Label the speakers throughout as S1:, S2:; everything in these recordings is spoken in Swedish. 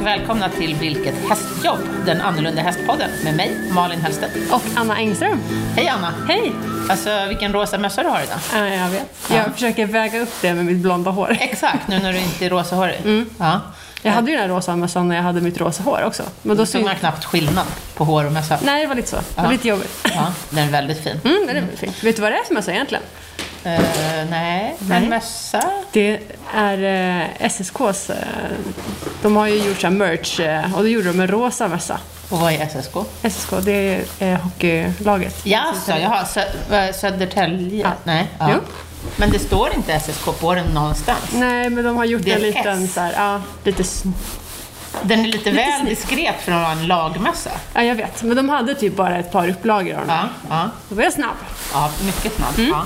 S1: välkomna till Vilket hästjobb? Den annorlunda hästpodden med mig, Malin Hellstedt.
S2: Och Anna Engström.
S1: Hej Anna!
S2: Hej!
S1: Alltså vilken rosa mössa du har idag.
S2: Ja, jag vet.
S1: Ja.
S2: Jag försöker väga upp det med mitt blonda hår.
S1: Exakt, nu när du inte är rosahårig.
S2: Mm.
S1: Ja.
S2: Jag hade ju den här rosa mössan när jag hade mitt rosa hår också. Men då
S1: Då såg
S2: såg...
S1: man knappt skillnad på hår och mössa.
S2: Nej, det var lite så. Det
S1: Ja.
S2: var lite jobbigt.
S1: Ja, den är väldigt fin.
S2: Mm, nej, det var fint. Vet du vad det är för mössa egentligen?
S1: Eh, nej, en
S2: Mm. Nej.
S1: mössa.
S2: Det är eh, SSKs... Eh, de har ju gjort så här merch eh, och då gjorde de en rosa mössa.
S1: Och vad är SSK?
S2: SSK, det är eh, hockeylaget.
S1: Ja, så jaha, Sö eh, Södertälje?
S2: Ja.
S1: Nej. Ja.
S2: Jo.
S1: Men det står inte SSK på den någonstans.
S2: Nej, men de har gjort
S1: Det är
S2: en liten
S1: S.
S2: så här, ja, lite... s-
S1: Den är lite väl
S2: snyggt.
S1: diskret för att vara en lagmössa.
S2: Ja, jag vet. Men de hade typ bara ett par upplagor av den.
S1: Ja, ja.
S2: Då var jag snabb.
S1: Ja, mycket snabbt.
S2: Mm.
S1: Ja.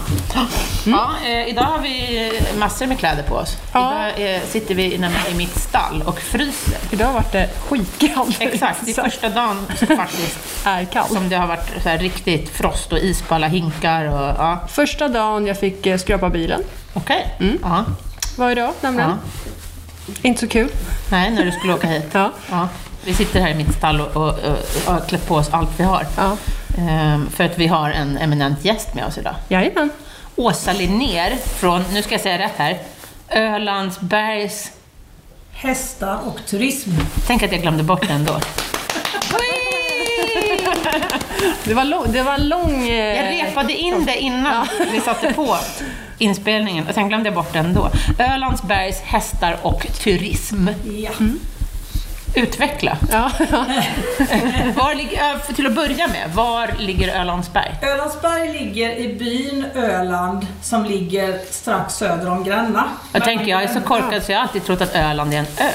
S1: Ja, eh, idag har vi massor med kläder på oss.
S2: Ja.
S1: Idag eh, sitter vi nämligen i mitt stall och fryser.
S2: Idag vart det skitkallt.
S1: Exakt, det är
S2: Så
S1: första dagen faktiskt
S2: är kallt.
S1: som det har varit så här riktigt frost och is på alla hinkar. Och, ja.
S2: Första dagen jag fick eh, skrapa bilen
S1: Okej.
S2: Mm.
S1: Ja.
S2: var idag nämligen.
S1: Ja.
S2: Inte så kul.
S1: Nej, när du skulle åka hit.
S2: Ja.
S1: Ja. Vi sitter här i mitt stall och, och, och, och har klätt på oss allt vi har.
S2: Ja.
S1: Ehm, för att vi har en eminent gäst med oss idag.
S2: Jajamän.
S1: Åsa Linnér från, nu ska jag säga rätt här, Ölandsbergs
S3: Hästar och turism.
S1: Tänk att jag glömde bort den då.
S2: Det var, lång, det var en lång... eh,
S1: Jag repade in det innan vi satte på inspelningen och sen glömde jag bort den då. Ölandsbergs hästar och turism.
S3: Ja.
S1: Utveckla.
S2: Ja, ja.
S1: Var ligger, ö, för- till att börja med, var ligger Ölandsberg?
S3: Ölandsberg ligger i byn Öland som ligger strax söder om Gränna.
S1: Jag tänker, jag är så korkad så jag har alltid trott att Öland är en ö.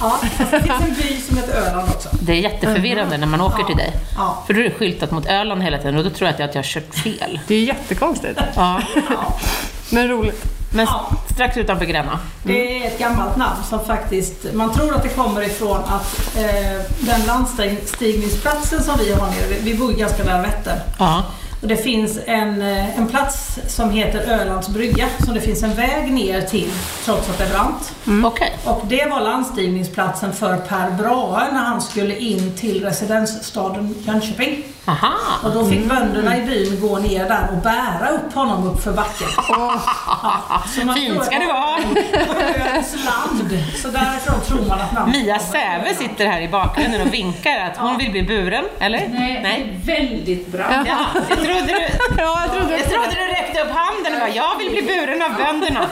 S3: Ja, fast det finns en by som heter Öland också.
S1: Det är jätteförvirrande när man åker till dig.
S3: Mm-hmm. Ja.
S1: För då är det skyltat mot Öland hela tiden och då tror jag att jag, att jag har kört fel.
S2: Det är jättekonstigt.
S1: Ja.
S3: Ja.
S2: Men roligt.
S1: Men s-
S3: Ja.
S1: strax utanför Gränna.
S3: Det är ett gammalt namn som faktiskt, man tror att det kommer ifrån att eh, den landstigningsplatsen som vi har nere, vi- vi bor ju ganska nära Vättern.
S1: Ja.
S3: Och det finns en, eh, en plats som heter Ölands brygga som det finns en väg ner till trots att det är brant.
S1: Okej.
S3: Och det var landstigningsplatsen för Per Brahe när han skulle in till residensstaden Jönköping.
S1: Aha.
S3: Och då fick bönderna i
S1: Mm.
S3: byn gå ner där och bära upp honom upp för backen. Ja, så man tror
S1: Fint
S3: att-
S1: ska det vara.
S3: Ölandsland. Så därifrån tror man att namnet
S1: Mia
S3: kommer.
S1: Säve sitter här i bakgrunden och vinkar att hon vill bli buren, eller?
S4: Nej, det är väldigt bra.
S1: Ja, jag trodde du,
S2: Ja, jag trodde
S1: jag trodde du räckte upp handen och bara, jag vill bli buren av bönderna.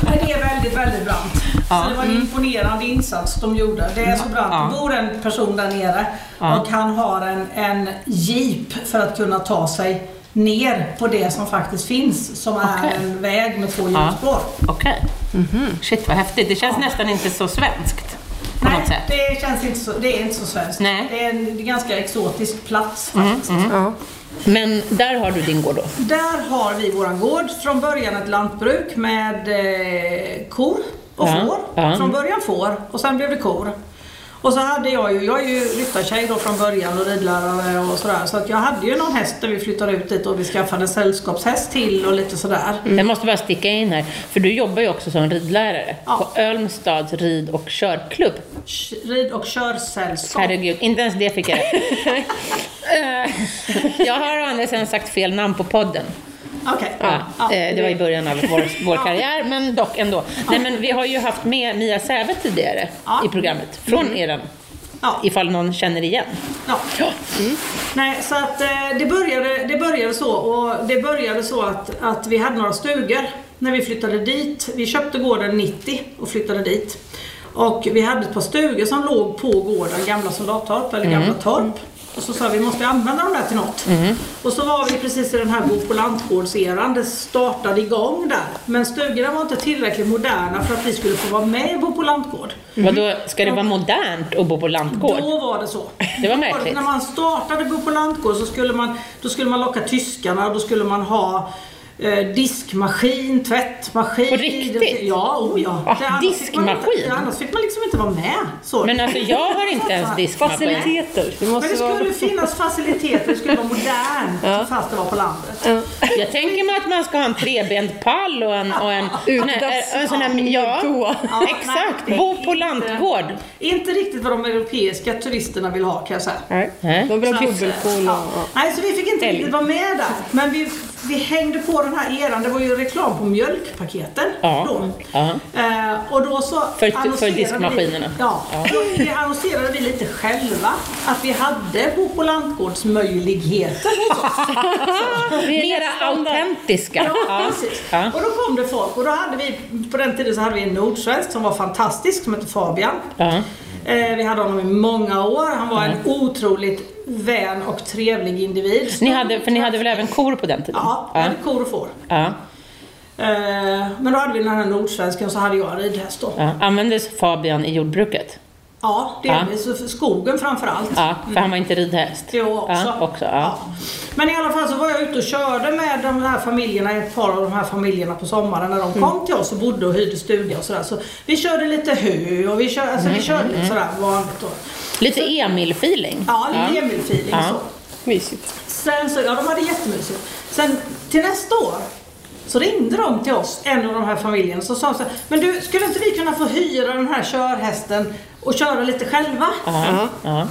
S3: Men det är väldigt, väldigt brant. Så det var en imponerande insats de gjorde. Det är så brant.
S1: Mm. Ja.
S3: Det bor en person där nere
S1: Ja.
S3: och han har en, en jeep för att kunna ta sig ner på det som faktiskt finns som
S1: Okej.
S3: är en väg med två hjulspår.
S1: Okej. Shit vad häftigt. Det känns nästan inte så svenskt på något
S3: Nej,
S1: sätt.
S3: det känns inte så, det är inte så svenskt.
S1: Nej. Mm,
S3: Det är en ganska exotisk plats faktiskt.
S2: Ja.
S1: Men där har du din gård då?
S3: Där har vi våran gård. Från början ett lantbruk med eh, kor och
S1: Ja,
S3: får.
S1: ja.
S3: Från början får och sen blev det kor. Och så hade jag ju, jag är ju ryttartjej då från början och ridlärare och sådär. Så att jag hade ju någon häst när vi flyttade ut dit och vi skaffade en sällskapshäst till och lite sådär.
S1: Jag måste bara sticka in här, för du jobbar ju också som ridlärare
S3: Ja.
S1: på Ölmstads rid och körklubb.
S3: Sh- Rid och körsällskap.
S1: Herregud, inte ens det fick jag rätt. Eh, Jag har å andra sidan sagt fel namn på podden.
S3: Okej.
S1: Ja,
S3: Ja.
S1: eh, det var i början av vår, vår karriär, men dock ändå. Nej, men vi har ju haft med Mia Säve tidigare
S3: Ja. Mm.
S1: i programmet, från eran,
S3: Ja.
S1: ifall någon känner igen.
S3: Ja.
S1: Ja.
S3: Nej, så att eh, det började, det började så och det började så att, att vi hade några stugor när vi flyttade dit. Vi köpte gården 90 och flyttade dit. Och vi hade ett par stugor som låg på gården, gamla soldattorp eller gamla torp. Och så sa vi, vi måste använda dem där till något. Och så var vi precis i den här bo på lantgårdseran, det startade igång där. Men stugorna var inte tillräckligt moderna för att vi skulle få vara med i bo på lantgård.
S1: Vadå, ska det vara modernt att bo på lantgård?
S3: Mm. Då var det så.
S1: Det var märkligt.
S3: När man startade Bo på lantgård så skulle man, då skulle man locka tyskarna och då skulle man ha eh, diskmaskin, tvättmaskin.
S1: På riktigt?
S3: Ja, oh ja.
S1: Va?
S3: Det- annars fick man inte-
S1: Diskmaskin?
S3: ja, Annars fick man liksom inte vara med. Så.
S1: Men alltså jag har inte ens diskmaskin. Alltså-
S2: Faciliteter. Det
S3: Men
S2: måste
S3: det
S2: vara...
S3: skulle finnas faciliteter, det skulle vara modernt fast det var på landet.
S1: Jag tänker mig att man ska ha en trebent pall och en, och en, eh,
S2: Utdass-
S1: en sån här, ja,
S2: Ja.
S3: Ja,
S1: exakt,
S3: nej,
S1: bo på
S3: inte-
S1: lantgård.
S3: Inte riktigt vad de europeiska turisterna vill ha kan jag säga.
S2: Nej.
S1: Nej.
S2: De vill ha
S3: Så-
S2: bubbelpool och...
S3: Ja. Nej, så vi fick inte
S1: Älg.
S3: riktigt vara med där. Men vi, vi hängde på den här eran. Det var ju reklam på mjölkpaketen
S1: Ja.
S3: då.
S1: Ja.
S3: Eh, och då så
S1: För- för
S3: annonserade
S1: diskmaskinerna.
S3: Vi, ja, Då vi annonserade vi lite själva att vi hade bo på lantgårdsmöjligheter.
S1: Mera autentiska.
S3: Ja, precis.
S1: Ja.
S3: Och då kom det folk och då hade vi, på den tiden så hade vi en nordsvensk som var fantastisk som hette Fabian.
S1: Ja.
S3: Eh, vi hade honom i många år. Han var en otroligt vän och trevlig individ.
S1: Ni hade, för ni hade väl även kor på den tiden?
S3: Ja, vi
S1: ja.
S3: hade kor och får.
S1: ja.
S3: Eh, men då hade vi den här nordsvensken och så hade jag en ridhäst då.
S1: ja. Användes Fabian i jordbruket?
S3: Ja, delvis. För skogen framförallt.
S1: Ja, för han var inte ridhäst?
S3: Jo, också.
S1: Ja, också ja.
S3: Men i alla fall så var jag ute och körde med de här familjerna, ett par av de här familjerna på sommaren när de kom till oss och bodde och hyrde stuga och sådär. Så vi körde lite hö och vi körde, alltså, vi körde lite sådär vanligt då.
S1: Lite Emil-feeling.
S3: Ja, lite Emil-feeling
S1: Ja.
S3: så.
S2: Mysigt.
S3: Sen så, ja de hade jättemysigt. Sen till nästa år så ringde de till oss, en av de här familjerna, så sa de så här, men du, skulle inte vi kunna få hyra den här körhästen och köra lite själva?
S1: Ja, ja.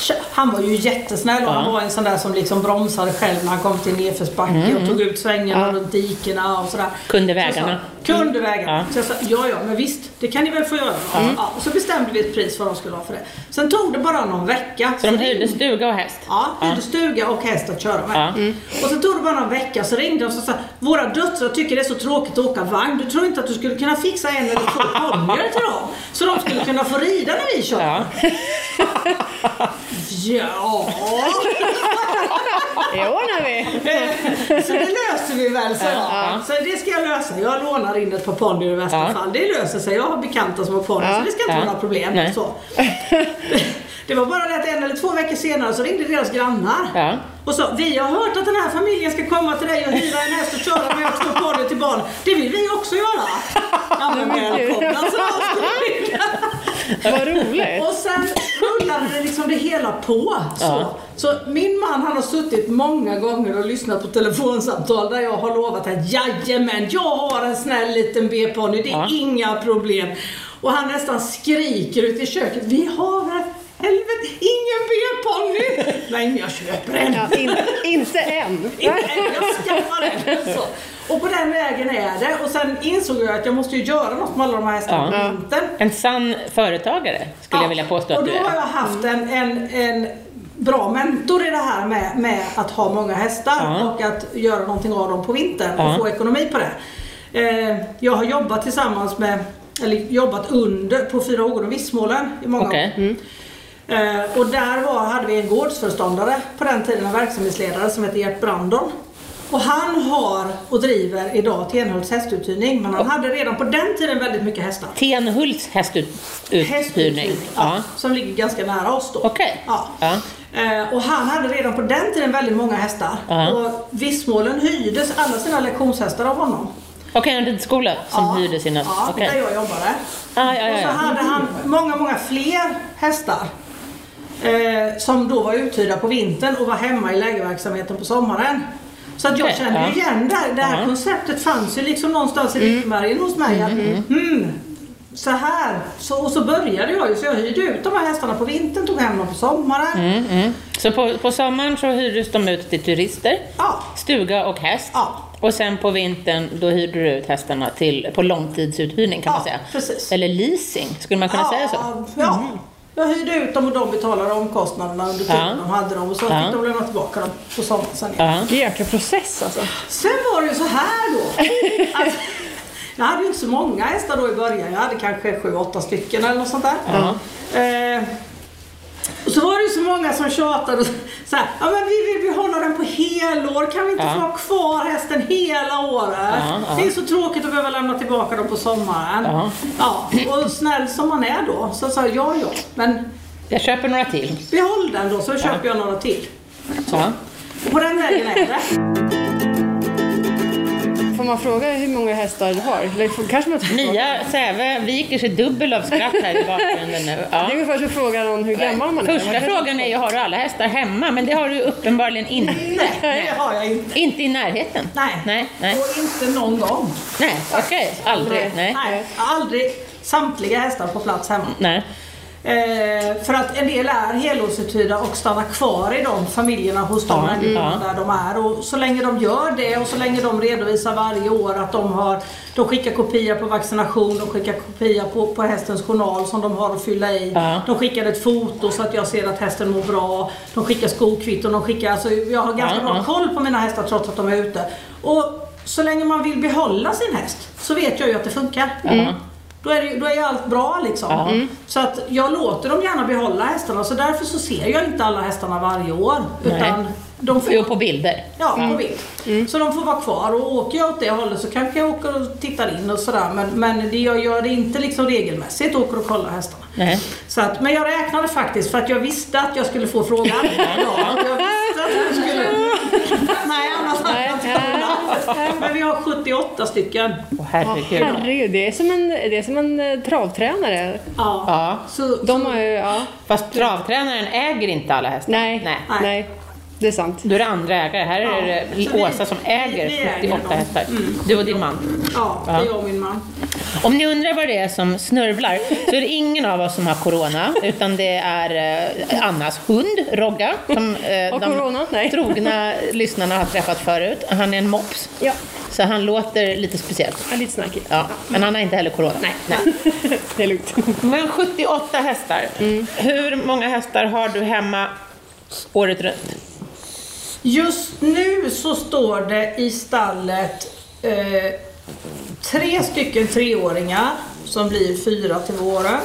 S3: Kö- Han var ju jättesnäll och han var en sån där som liksom bromsade själv när han kom till nedförsbacke och tog ut svängarna runt dikena och sådär.
S1: Mm. Kunde
S3: Så jag sa,
S1: vägarna. Mm.
S3: Kunde vägarna.
S1: Ja.
S3: Så jag sa, ja ja, men visst, det kan ni väl få göra. Ja, och så bestämde vi ett pris vad de skulle ha för det. Sen tog det bara någon vecka.
S1: Så de
S3: det-
S1: hyrde stuga och häst?
S3: Ja, hyrde stuga och häst att köra med.
S1: Ja.
S3: Och så tog det bara någon vecka så ringde de och så sa Våra döttrar tycker det är så tråkigt att åka vagn. Du tror inte att du skulle kunna fixa en eller två ponnyar till dem? Så de skulle kunna få rida när vi kör?
S1: Ja.
S3: Ja,
S2: Det ordnar vi.
S3: så det löser vi väl så.
S1: Ja.
S3: Så det ska jag lösa. Jag lånar in ett par ponnyer i värsta
S1: Ja.
S3: fall. Det löser sig. Jag har bekanta som har ponnyer så det ska inte
S1: Ja.
S3: vara några problem.
S1: Nej.
S3: Så. Det var bara det att en eller två veckor senare så ringde deras grannar.
S1: Ja.
S3: Och så, vi har hört att den här familjen ska komma till dig och hyra en häst och köra med och stå på dig till barn. Det vill vi också göra. Ja men välkomna så
S2: Vad roligt.
S3: Och sen rullade det liksom det hela på. Så.
S1: Ja.
S3: så min man han har suttit många gånger och lyssnat på telefonsamtal där jag har lovat att jajamän, jag har en snäll liten B-ponny, det är
S1: Ja.
S3: inga problem. Och han nästan skriker ut i köket, vi har väl helvete ingen B-ponny! Nej men jag köper en.
S2: Ja, in, inte än.
S3: Inte än, jag skaffar en. Så. Och på den vägen är det. Och sen insåg jag att jag måste ju göra något med alla de här hästarna
S1: Ja.
S3: på vintern.
S1: En sann företagare skulle
S3: Ja,
S1: jag vilja påstå att
S3: Och då
S1: du
S3: har jag
S1: är.
S3: haft en, en, en bra mentor i det här med, med att ha många hästar
S1: Ja.
S3: och att göra någonting av dem på vintern och
S1: Ja.
S3: få ekonomi på det. Eh, jag har jobbat tillsammans med, eller jobbat under, på Fyra Hågor och Vissmålen i många
S1: Okej. Mm.
S3: år. Eh, och där var, hade vi en gårdsföreståndare på den tiden, en verksamhetsledare som hette Gert Brandon. Och han har och driver idag Tenhults hästuthyrning men han hade redan på den tiden väldigt mycket hästar.
S1: Tenhults hästuthyrning.
S3: Hästuthyrning,
S1: Ja.
S3: ja. Som ligger ganska nära oss då.
S1: Okej.
S3: Ja.
S1: Ja.
S3: Eh, och han hade redan på den tiden väldigt många hästar.
S1: Ja.
S3: Och Vissmålen hyrdes alla sina lektionshästar av honom.
S1: Okej, en ridskola som
S3: Ja.
S1: hyrde sina...
S3: Ja,
S1: Okej.
S3: där jag jobbade.
S1: Ja, ja, ja,
S3: Och så
S1: ja.
S3: hade han många, många fler hästar. Eh, som då var uthyrda på vintern och var hemma i lägerverksamheten på sommaren. Så att jag
S1: Okej,
S3: kände ju
S1: ja.
S3: igen det här. Det här
S1: Ja.
S3: konceptet fanns ju liksom någonstans i ryggmärgen hos mig. Att, mm, så här. Så, och så började jag ju. Så jag hyrde ut de här hästarna på vintern, tog hem dem på sommaren.
S1: Mm, mm. Så på, på sommaren så hyrdes de ut till turister,
S3: Ja.
S1: stuga och häst.
S3: Ja.
S1: Och sen på vintern då hyrde du ut hästarna till, på långtidsuthyrning kan
S3: Ja,
S1: man säga.
S3: precis.
S1: Eller leasing, skulle man kunna säga så? Mm.
S3: Ja. Jag hyrde ut dem och de betalade omkostnaderna under tiden
S1: Ja.
S3: de hade dem och så
S1: Ja.
S3: fick de lämna tillbaka dem på sommaren sen.
S1: Ja.
S2: Jäkla process alltså.
S3: Sen var det ju så här då. Att, jag hade ju inte så många hästar då i början. Jag hade kanske sju, åtta stycken eller något sånt där. Eh, och så var det ju så många som tjatade och så här, ja men vi vill behålla den på helår, kan vi inte
S1: Ja.
S3: få ha kvar hästen hela året?
S1: Ja, ja.
S3: Det är så tråkigt att behöva lämna tillbaka dem på sommaren.
S1: Ja.
S3: Ja, och snäll som man är då så sa jag ja, ja, men
S1: Jag köper några till.
S3: behåll den då så köper jag några till.
S1: Ja.
S3: Och på den vägen är det.
S2: Får man fråga hur många hästar du har? Eller får- kanske man inte får fråga.
S1: Mia Säve viker sig dubbel av skratt här i bakgrunden nu.
S2: Det är
S1: Ja.
S2: ungefär som att fråga någon hur gammal man är. Man
S1: Första
S2: kanske-
S1: frågan är ju, har du alla hästar hemma? Men det har du ju uppenbarligen inte.
S3: Nej, det har jag inte.
S1: Inte i närheten?
S3: Nej.
S1: Nej, nej,
S3: Och inte någon gång.
S1: nej. okej. Aldrig. Nej.
S3: Nej, jag har aldrig samtliga hästar på plats hemma.
S1: nej.
S3: Eh, för att en del är helårsuthyrda och stannar kvar i de familjerna hos de
S1: Ja,
S3: människorna
S1: ja.
S3: där de är. Och så länge de gör det och så länge de redovisar varje år att de har de skickar kopia på vaccination, de skickar kopia på, på hästens journal som de har att fylla i.
S1: Ja.
S3: De skickar ett foto så att jag ser att hästen mår bra. De skickar skokvitton, de skickar... Alltså, jag har ganska
S1: Ja,
S3: bra
S1: ja.
S3: koll på mina hästar trots att de är ute. Och så länge man vill behålla sin häst så vet jag ju att det funkar.
S1: Ja.
S3: Då är, det, då är ju allt bra liksom.
S1: Mm. Ja.
S3: Så att jag låter dem gärna behålla hästarna så därför så ser jag inte alla hästarna varje år.
S1: Nej.
S3: Utan de får,
S1: Jo, på bilder.
S3: ja, på bild. Så de får vara kvar och åker jag åt det hållet så kanske jag åker och tittar in och sådär. Men, men det, jag gör det inte liksom regelmässigt, åker och kollar hästarna.
S1: Nej.
S3: Så att, men jag räknade faktiskt för att jag visste att jag skulle få frågan. Ja, jag visste att jag skulle... Nej, annars hade jag inte kollat. Men vi har 78 stycken.
S1: Åh, herregud.
S2: Herregud, det är som en, det är som en eh, travtränare.
S3: Ja.
S1: Ja.
S3: Så,
S2: De har ju, ja,
S1: Fast travtränaren äger inte alla hästar.
S2: nej,
S1: nej.
S2: nej, det är sant.
S1: Då är det andra ägare. Här är
S3: Ja.
S1: det
S3: Så vi-
S1: Åsa som äger
S3: vi äger Mm.
S1: 78
S3: dem.
S1: hästar. Du och din man.
S3: Ja, det
S1: Ja.
S3: är jag och min man.
S1: Om ni undrar vad det är som snörvlar så är det ingen av oss som har corona utan det är eh, Annas hund Rogga som eh,
S2: Har corona? Nej.
S1: trogna lyssnarna har träffat förut. Han är en mops
S2: Ja,
S1: så han låter lite speciellt.
S2: jag är lite snackig.
S1: Ja, men han har inte heller corona. Nej.
S2: Det är lugnt.
S1: Men 78 hästar.
S2: Mm.
S1: Hur många hästar har du hemma året runt?
S3: Just nu så står det i stallet eh, tre stycken treåringar som blir fyra till våren.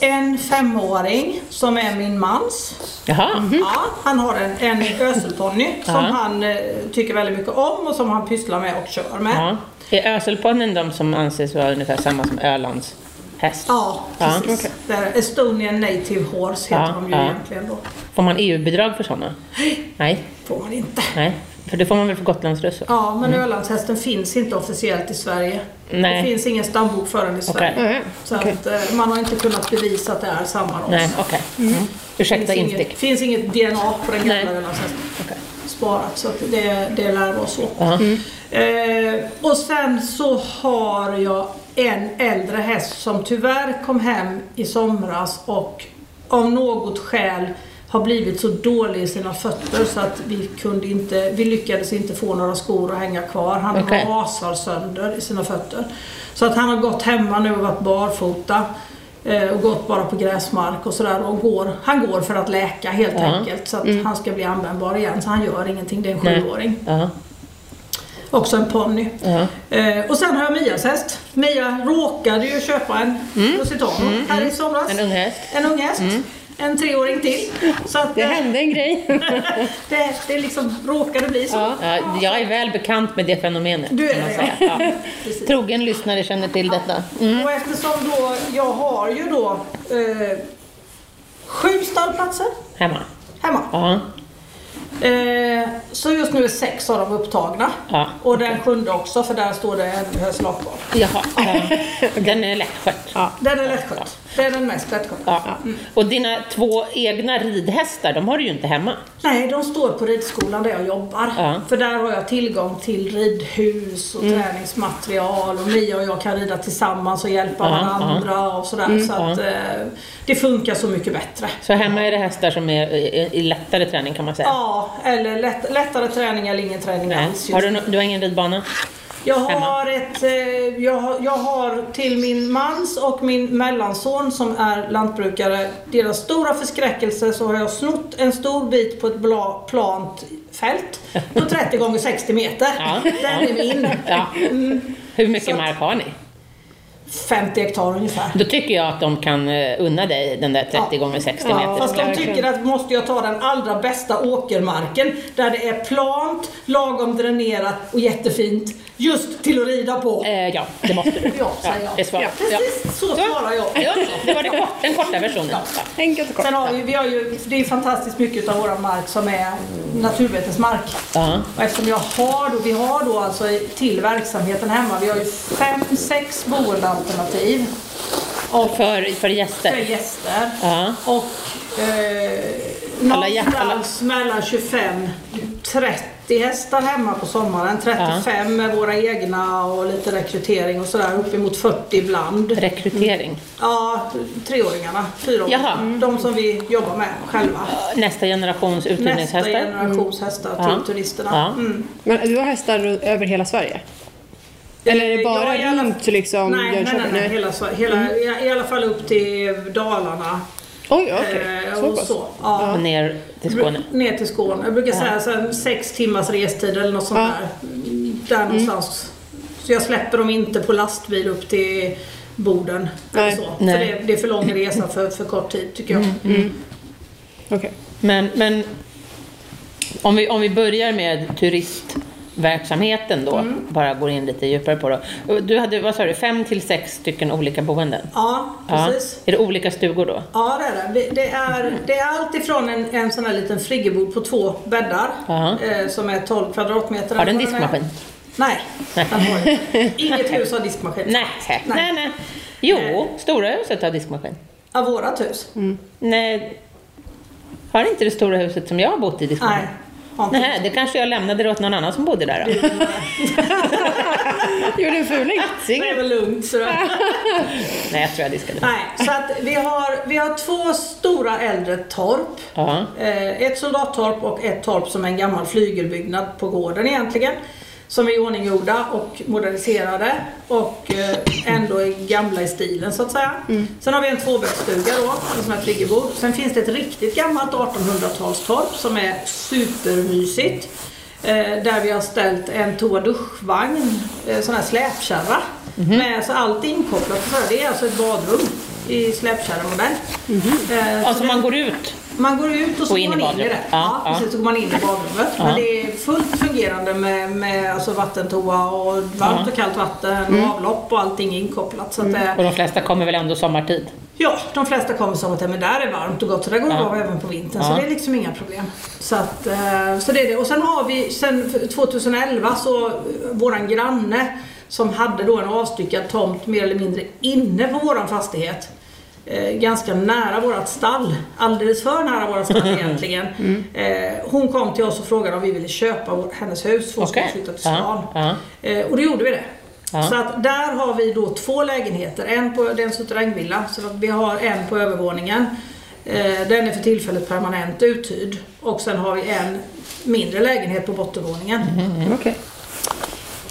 S3: En femåring som är min mans.
S1: Jaha.
S2: Mhm.
S3: Ja, han har en, en öselponny som
S1: Mm. Ja.
S3: han eh, tycker väldigt mycket om och som han pysslar med och kör med.
S1: Ja. Är öselponnen de som anses vara ungefär samma som Ölands häst?
S3: Ja,
S1: Ja,
S3: precis.
S1: okej.
S3: Det är Estonian Native Horse heter
S1: Ja,
S3: de ju
S1: ja.
S3: egentligen då.
S1: Får man EU-bidrag för sådana? Nej,
S3: Får man inte.
S1: nej. För det får man väl för Gotlandsröss? va?
S3: Ja, men Ölandshästen finns inte officiellt i Sverige.
S1: Mm. Nej.
S3: Det finns ingen stambok för den i Sverige.
S2: Nej,
S3: Så att, eh, man har inte kunnat bevisa att det är samma ras.
S1: Nej, okej. Mm. Ursäkta
S3: finns,
S1: instick.
S3: inget, finns inget DNA på den
S1: Nej.
S3: gamla Ölandshästen
S1: Okej.
S3: sparat, så att det, det lär vara så.
S1: Ja.
S3: Eh, och sen så har jag en äldre häst som tyvärr kom hem i somras och av något skäl har blivit så dålig i sina fötter så att vi kunde inte, vi lyckades inte få några skor att hänga kvar. Han
S1: Okej.
S3: rasar sönder i sina fötter. Så att han har gått hemma nu och varit barfota eh, och gått bara på gräsmark och sådär. Och går, han går för att läka helt
S1: Ja. Mm.
S3: enkelt så att han ska bli användbar igen. Så han gör ingenting, det är en
S1: Nej.
S3: sjuåring.
S1: Ja.
S3: Också en ponny.
S1: Ja.
S3: Eh, och sen har jag Mias häst. Mia råkade ju köpa en Lusitano här i somras.
S1: Mm. En ung häst. Mm.
S3: En ung häst. En treåring till. Så att,
S2: Det
S3: eh,
S2: hände en grej.
S3: det, det liksom råkade bli så.
S2: Ja.
S1: Ja, jag är väl bekant med det fenomenet.
S3: Du är
S1: kan man
S3: det,
S1: säga. ja.
S3: Precis.
S1: Trogen lyssnare känner till detta.
S3: Och eftersom då jag har ju då eh, sju stallplatser
S1: Hemma.
S3: hemma.
S1: Ja.
S3: Eh, så just nu är sex av dem upptagna.
S1: Ja.
S3: Och den sjunde också för där står det en höslak kvar.
S1: Jaha. Ja. Den är lättskött. Ja.
S3: Den är lättskött. Det är den mest lättskötta. Mm.
S1: Och dina två egna ridhästar, de har du ju inte hemma.
S3: Nej, de står på ridskolan där jag jobbar.
S1: Ja. Mm.
S3: För där har jag tillgång till ridhus och träningsmaterial och Mia och jag kan rida tillsammans och hjälpa
S1: Ja, Mm,
S3: varandra och sådär. så att, eh, det funkar så mycket bättre.
S1: Så hemma är det hästar som är i- i lättare träning kan man säga.
S3: Ja, eller lätt, lättare träning eller ingen träning
S1: Nej.
S3: alls. just
S1: Har du, no- du har ingen ridbana?
S3: Jag
S1: Hemma?
S3: har, ett, eh, jag, har, jag har till min mans och min mellanson som är lantbrukare, deras stora förskräckelse så har jag snott en stor bit på ett bla, plant fält på 30 gånger 60 meter.
S1: Ja,
S3: Den är min. Mm,
S1: Ja. Hur mycket
S3: Så-
S1: mark har ni?
S3: 50 hektar ungefär.
S1: Då tycker jag att de kan eh, unna dig den där 30
S3: Ja.
S1: gånger 60
S2: Ja,
S1: meter.
S3: Fast de
S2: verkligen.
S3: tycker att måste jag ta den allra bästa åkermarken där det är plant, lagom dränerat och jättefint just till att rida på.
S1: Eh, ja, det måste du.
S3: Ja, säger jag.
S1: det svarar jag.
S3: Precis så svarar jag.
S1: Ja, det var det kort, den korta versionen. Ja.
S2: Enkelt och kort.
S3: Sen har vi, vi har ju, det är ju fantastiskt mycket av vår mark som är naturbetesmark.
S1: Ja.
S3: Och eftersom jag har då, vi har då alltså i- till verksamheten hemma, vi har ju fem, sex boendealternativ
S1: Och för, för
S3: för
S1: gäster.
S3: gäster.
S1: Ja.
S3: Och eh,
S1: Alla hjärtan-
S3: någonstans mellan 25 30 hästar hemma på sommaren, 35 med våra egna och lite rekrytering och sådär, uppemot 40 ibland.
S1: Rekrytering.
S3: Ja, treåringarna, fyraåringarna,
S1: Jaha.
S3: de som vi jobbar med själva.
S1: Nästa generations
S3: Nästa
S1: uthyrningshästar.
S3: generations hästar,
S1: Ja.
S3: till turisterna.
S1: Ja.
S3: Mm.
S2: Men du har hästar ru- över hela Sverige? Eller är det bara
S3: Ja, i alla-
S2: runt liksom
S3: nej, nej,
S2: Jönköping?
S3: nej, nej, hela, Sverige- hela,
S2: Mm.
S3: i- i alla fall upp till Dalarna.
S2: Oj, okej.
S3: eh,
S2: Så
S3: och
S2: pass.
S3: så. Ja.
S1: Och ner till Skåne.
S3: Ner till Skåne. Jag brukar säga så här, sex timmars restid eller något sånt
S2: Ja.
S3: där. Mm, Där någonstans. Så jag släpper dem inte på lastbil upp till Boden. Eller
S2: Nej.
S3: så. För
S1: Nej. Mm,
S3: det, det är för lång resa för, för kort tid tycker jag.
S2: Okej.
S1: Men, men om, vi, om vi börjar med turistverksamheten då,
S3: Mm.
S1: bara går in lite djupare på det. Du hade, vad sa du, fem till sex stycken olika boenden?
S3: Ja, precis.
S1: Är det olika stugor då?
S3: Ja, det är det. Vi- Det är, det är allt ifrån en, en sån här liten friggebod på två bäddar
S1: Ja.
S3: eh, som är 12 kvadratmeter.
S1: Har den
S3: Vad är.
S1: diskmaskin?
S3: Nej, den har inte. Inget hus har diskmaskin.
S1: Nej. Nej. nej, Jo, Stora huset har diskmaskin.
S3: Av vårat hus?
S1: Mm. Nej, har inte det stora huset som jag har bott i diskmaskin?
S3: Nej. har inte.
S1: Nej, det kanske jag lämnade det åt någon annan som bodde där då.
S2: Gjorde en fuling?
S3: Det är
S1: Singel.
S3: väl lugnt. sådär.
S1: Nej, jag tror jag diskade.
S3: Nej, så att vi har, vi har två stora äldre torp.
S1: Ja.
S3: Eh, Ett soldattorp och ett torp som är en gammal flygelbyggnad på gården egentligen. Som är iordninggjorda och moderniserade och eh, ändå är gamla i stilen så att säga. Sen har vi en tvåbäddsstuga då, en sån här friggebod. Sen finns det ett riktigt gammalt 1800-talstorp som är supermysigt. Eh, Där vi har ställt en toa-duschvagn, eh, sån här släpkärra. Med så allt inkopplat. och så här. Det är alltså ett badrum i släpkärramodell. Eh, så
S1: Alltså
S3: det-
S1: man går ut.
S3: man går ut och så
S1: Och
S3: går
S1: in i
S3: man in i
S1: badrummet.
S3: det.
S1: Ja,
S3: Ja,
S1: ja.
S3: precis, så går man in i badrummet.
S1: Ja.
S3: Men det är fullt fungerande med, med alltså vattentoa och varmt och kallt vatten och
S1: Mm.
S3: avlopp och allting är inkopplat. Så att
S1: Och
S3: det,
S1: de flesta kommer väl ändå sommartid.
S3: ja, de flesta kommer som att "Ja, men där är varmt och gott så där går det
S1: Ja.
S3: bra även på vintern.
S1: Ja.
S3: Så det är liksom inga problem. Så, att, eh, så det är det. Och sen har vi, sen 2011 så eh, våran granne som hade då en avstyckad tomt mer eller mindre inne på våran fastighet eh, ganska nära vårat stall. Alldeles för nära vårat stall egentligen.
S1: Mm.
S3: Eh, hon kom till oss och frågade om vi ville köpa vår, hennes hus för hon
S1: Okej.
S3: skulle flytta till
S1: Ja,
S3: stan.
S1: ja.
S3: Eh, och då gjorde vi det.
S1: Ja.
S3: Så att där har vi då två lägenheter. En på det är en suterrängvilla, så att vi har en på övervåningen. Eh, den är för tillfället permanent uthyrd. Och sen har vi en mindre lägenhet på bottenvåningen.
S1: Mm.
S2: Okej.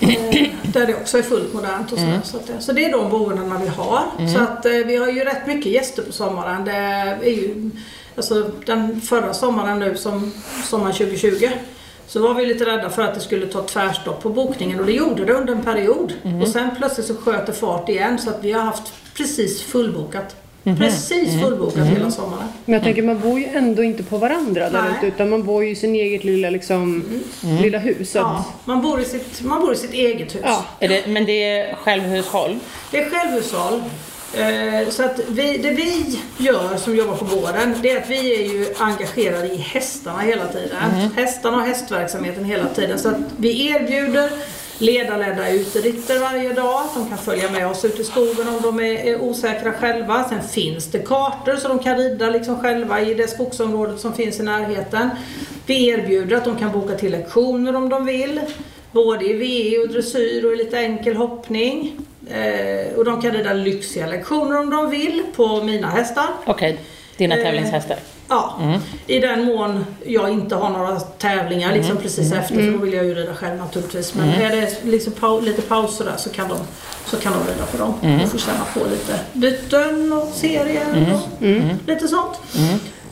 S3: Eh, Där det också är fullt modernt och sådär. Så, att, det- så det är de boendena vi har. Så att eh, vi har ju rätt mycket gäster på sommaren. Det är ju, alltså, den förra sommaren nu, som, sommaren 2020, så var vi lite rädda för att det skulle ta tvärstopp på bokningen och det gjorde det under en period. Och sen plötsligt så sköt det fart igen så att vi har haft precis fullbokat. Precis fullbokat hela sommaren.
S2: Men jag tänker man bor ju ändå inte på varandra där
S3: Nej.
S2: ute utan man bor ju i sin eget lilla liksom,
S1: Mm.
S2: lilla hus. Så
S3: Ja,
S2: att,
S3: man, bor i sitt, man bor i sitt eget hus.
S2: Ja.
S1: Är det, men det är självhushåll.
S3: Det är självhushåll. Eh, Så att vi, det vi gör som jobbar på gården, det är att vi är ju engagerade i hästarna hela tiden. Hästarna och hästverksamheten hela tiden. Så att vi erbjuder ledarledda uteritter varje dag. De kan följa med oss ut i skogen om de är, är osäkra själva. Sen finns det kartor så de kan rida liksom själva i det skogsområdet som finns i närheten. Vi erbjuder att de kan boka till lektioner om de vill. Både i VE och dressyr och i lite enkel hoppning. Eh, och de kan rida lyxiga lektioner om de vill på mina hästar.
S1: Okej, dina
S3: Eh,
S1: tävlingshästar.
S3: Ja,
S1: Mm.
S3: i den mån jag inte har några tävlingar liksom precis
S1: Mm.
S3: efter för då vill jag ju rida själv naturligtvis. Men är det liksom pau- lite pauser där så kan de, så kan de rida på dem
S1: Mm.
S3: och få känna på lite byten och serier och
S1: Mm.
S3: lite sånt.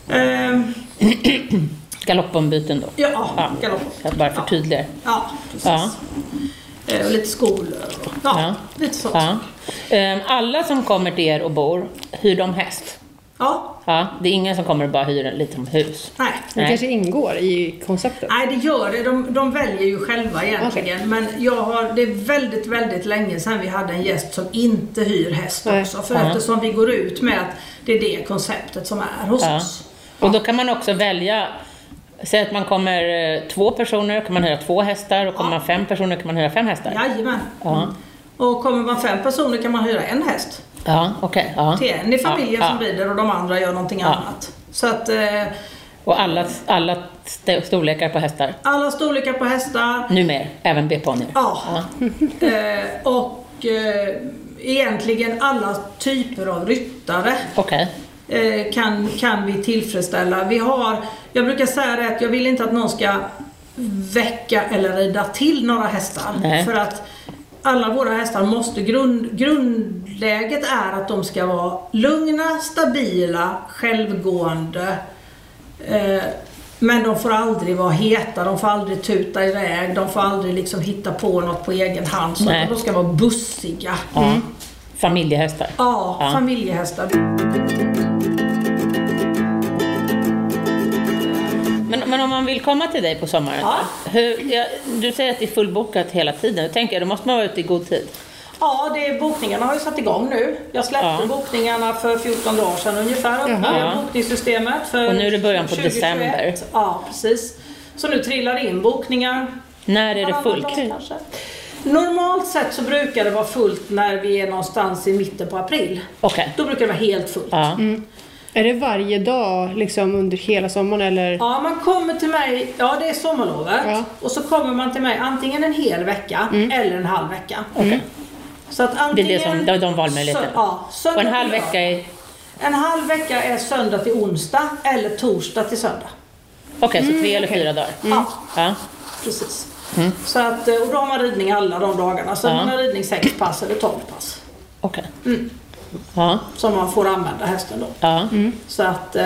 S3: Eh,
S1: Galoppombyten då.
S3: ja,
S1: Ja.
S3: galopp.
S1: Jag bara förtydligar.
S3: Ja, precis.
S1: Ja.
S3: Eh, och lite skolor och ja,
S1: Ja.
S3: lite sånt. Ja.
S1: Ja. Ehm, Alla som kommer till er och bor, hyr de häst? Ja, det är ingen som kommer och bara hyr en liten hus.
S3: nej.
S2: Det
S1: Nej.
S2: kanske ingår i konceptet.
S3: Nej, det gör det. De, de väljer ju själva egentligen. Men jag har, det är väldigt, väldigt länge sedan vi hade en gäst som inte hyr häst
S2: Nej.
S3: också. För
S1: Ja.
S3: eftersom vi går ut med att det är det konceptet som är hos
S1: Ja.
S3: oss.
S1: Och då kan man också välja, säg att man kommer eh, två personer kan man hyra två hästar och kommer
S3: Ja.
S1: man fem personer kan man hyra fem hästar.
S3: Jajamän.
S1: Ja,
S3: Och kommer man fem personer kan man hyra en häst
S1: ja okej.
S3: till
S1: ja.
S3: en i familjen
S1: Ja,
S3: som
S1: ja.
S3: rider och de andra gör någonting
S1: Ja.
S3: annat. Så att eh,
S1: Och alla, alla st- storlekar på hästar,
S3: alla storlekar på hästar,
S1: numera, även B-ponnyer.
S3: Ja. eh, och eh, egentligen alla typer av ryttare
S1: Okej.
S3: eh, kan, kan vi tillfredsställa. Vi har, jag brukar säga det att jag vill inte att någon ska väcka eller rida till några hästar.
S1: Nej.
S3: För att alla våra hästar måste, grund, grundläget är att de ska vara lugna, stabila, självgående. Eh, men de får aldrig vara heta, de får aldrig tuta iväg, de får aldrig liksom hitta på något på egen hand. Så
S1: Nej.
S3: att de ska vara bussiga.
S1: Ja. Mm. Familjehästar.
S3: Ja,
S1: Ja.
S3: familjehästar.
S1: Men, men om man vill komma till dig på sommaren,
S3: Ja.
S1: hur, ja, du säger att det är fullbokat hela tiden. Då tänker jag, då måste man vara ute i god tid.
S3: Ja, det är, bokningarna har ju satt igång nu. Jag släppte
S1: Ja.
S3: bokningarna för 14 dagar sedan ungefär.
S1: Jaha.
S3: Öppnade bokningssystemet för
S1: Och nu är det början på
S3: 2021.
S1: december.
S3: Ja, precis. Så nu trillar det in bokningar.
S1: När är det
S3: Varannan dag
S1: fullt?
S3: kanske. Normalt sett så brukar det vara fullt när vi är någonstans i mitten på april.
S1: Okej.
S3: Då brukar det vara helt fullt.
S1: Ja.
S2: Är det varje dag liksom under hela sommaren eller?
S3: Ja, man kommer till mig, ja det är sommarlovet,
S2: Ja.
S3: och så kommer man till mig antingen en hel vecka eller en halv vecka.
S1: Mm. Okej.
S3: Så att
S1: Det är
S3: antingen,
S1: det som, de, de valmöjligheterna.
S3: Sö- ja,
S1: och
S3: söndag
S1: en halv
S3: till
S1: vecka
S3: lördag.
S1: är...
S3: En halv vecka är söndag till onsdag eller torsdag till söndag.
S1: Okej, så tre eller fyra dagar.
S3: Mm, Ja,
S1: Ja.
S3: precis. Så att, eh, och då har man ridning alla de dagarna. Så
S1: Ja.
S3: man har ridning 6 pass eller 12 pass.
S1: Okej.
S3: Mm.
S1: Ja.
S3: Som man får använda hästen då.
S1: Ja.
S3: Så att eh,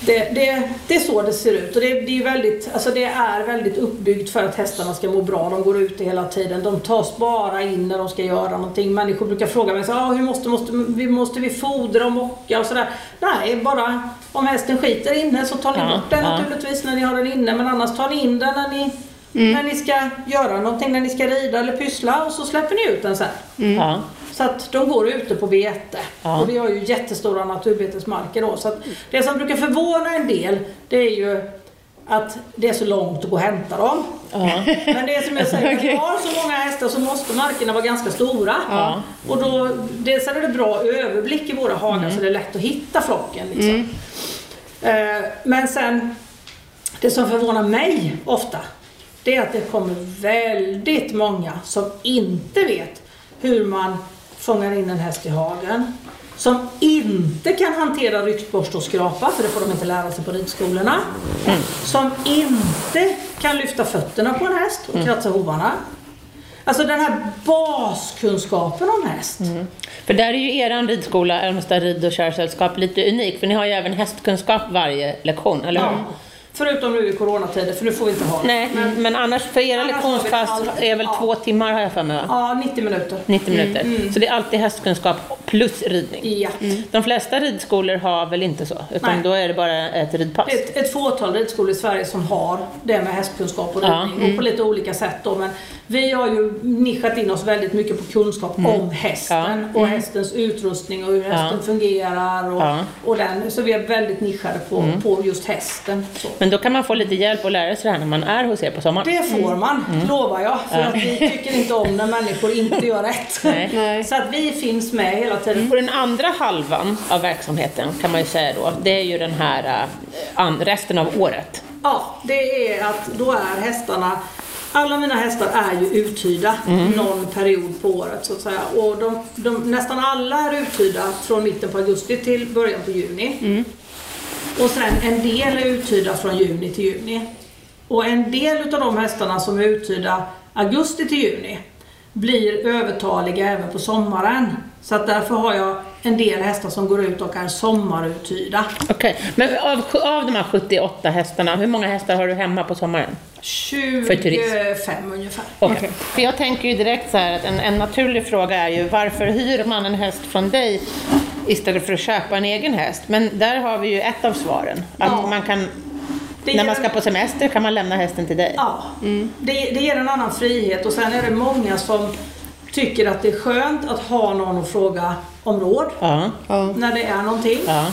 S3: det, det, det är så det ser ut. Och det, det, är väldigt, alltså det är väldigt uppbyggt för att hästarna ska må bra. De går ute hela tiden. De tas bara in när de ska göra någonting. Människor brukar fråga mig så, ah, hur måste, måste, vi, måste vi fodra och mocka och sådär. Nej, bara om hästen skiter inne så tar ni
S1: Ja,
S3: bort den
S1: ja.
S3: naturligtvis när ni har den inne. Men annars tar ni in den när ni,
S1: Mm.
S3: när ni ska göra någonting, när ni ska rida eller pyssla och så släpper ni ut den sen.
S1: Ja.
S3: Så att de går ute på bete.
S1: Ja.
S3: Och vi har ju jättestora naturbetesmarker då. Så att det som brukar förvåna en del, det är ju att det är så långt att gå och hämta dem.
S1: Ja.
S3: Men det är som jag säger, när
S2: Okej.
S3: vi har så många hästar så måste markerna vara ganska stora.
S1: Ja.
S3: Och då, dels är det bra överblick i våra hagar
S1: Mm.
S3: så det är lätt att hitta flocken. Liksom.
S1: Mm.
S3: Eh, men sen, det som förvånar mig ofta, det är att det kommer väldigt många som inte vet hur man fångar in en häst i hagen. Som inte kan hantera ryktborste och skrapa, för det får de inte lära sig på ridskolorna. Som inte kan lyfta fötterna på en häst och kratsa hovarna. Alltså den här baskunskapen om häst.
S1: Mm. För där är ju eran ridskola, Älmstad rid och körsällskap, lite unik. För ni har ju även hästkunskap varje lektion, eller hur?
S3: Ja. Förutom nu i coronatider, för nu får vi inte ha det.
S1: Nej, men annars för era
S3: Annars
S1: lektionspass
S3: har vi allt. Mm,
S1: är väl
S3: Ja.
S1: två timmar har jag för mig va?
S3: Ja, 90 minuter.
S1: 90 minuter. Så det är alltid hästkunskap plus ridning.
S3: Ja.
S1: De flesta ridskolor har väl inte så, utan
S3: Nej.
S1: då är det bara ett ridpass.
S3: Ett, ett fåtal ridskolor i Sverige som har det med hästkunskap och
S1: Ja. Mm.
S3: ridning och på lite olika sätt då. Men vi har ju nischat in oss väldigt mycket på kunskap
S1: Mm.
S3: om hästen och hästens utrustning och hur hästen fungerar och,
S1: Ja. Mm.
S3: och den. Så vi är väldigt nischade på, på just hästen. Så.
S1: Men då kan man få lite hjälp och lära sig det här när man är hos er på sommaren.
S3: Det får man,
S1: Mm.
S3: lovar jag. För att vi tycker inte om när människor inte gör rätt.
S1: Nej.
S2: Nej.
S3: Så att vi finns med hela tiden.
S1: Och den andra halvan av verksamheten kan man ju säga då, det är ju den här eh, an- resten av året.
S3: Ja, det är att då är hästarna alla mina hästar är ju uthyrda någon period på året så att säga. Och de, de, nästan alla är uthyrda från mitten på augusti till början på juni. Och sen en del är uthyrda från juni till juni. Och en del utav de hästarna som är uthyrda augusti till juni blir övertaliga även på sommaren. Så att därför har jag en en del hästar som går ut och är sommaruthyrda.
S1: Okej, men av, av de här 78 hästarna, hur många hästar har du hemma på sommaren?
S3: 25 ungefär.
S1: Okej. För jag tänker ju direkt så här att en, en naturlig fråga är ju varför hyr man en häst från dig istället för att köpa en egen häst? Men där har vi ju ett av svaren. Att
S3: Ja.
S1: man kan,
S3: Det
S1: när
S3: ger
S1: man
S3: en-
S1: ska på Mm. semester kan man lämna hästen till dig.
S3: Ja, det, det ger en annan frihet och sen är det många som tycker att det är skönt att ha någon att fråga om råd
S1: Ja.
S2: Ja.
S3: när det är någonting.
S1: ja.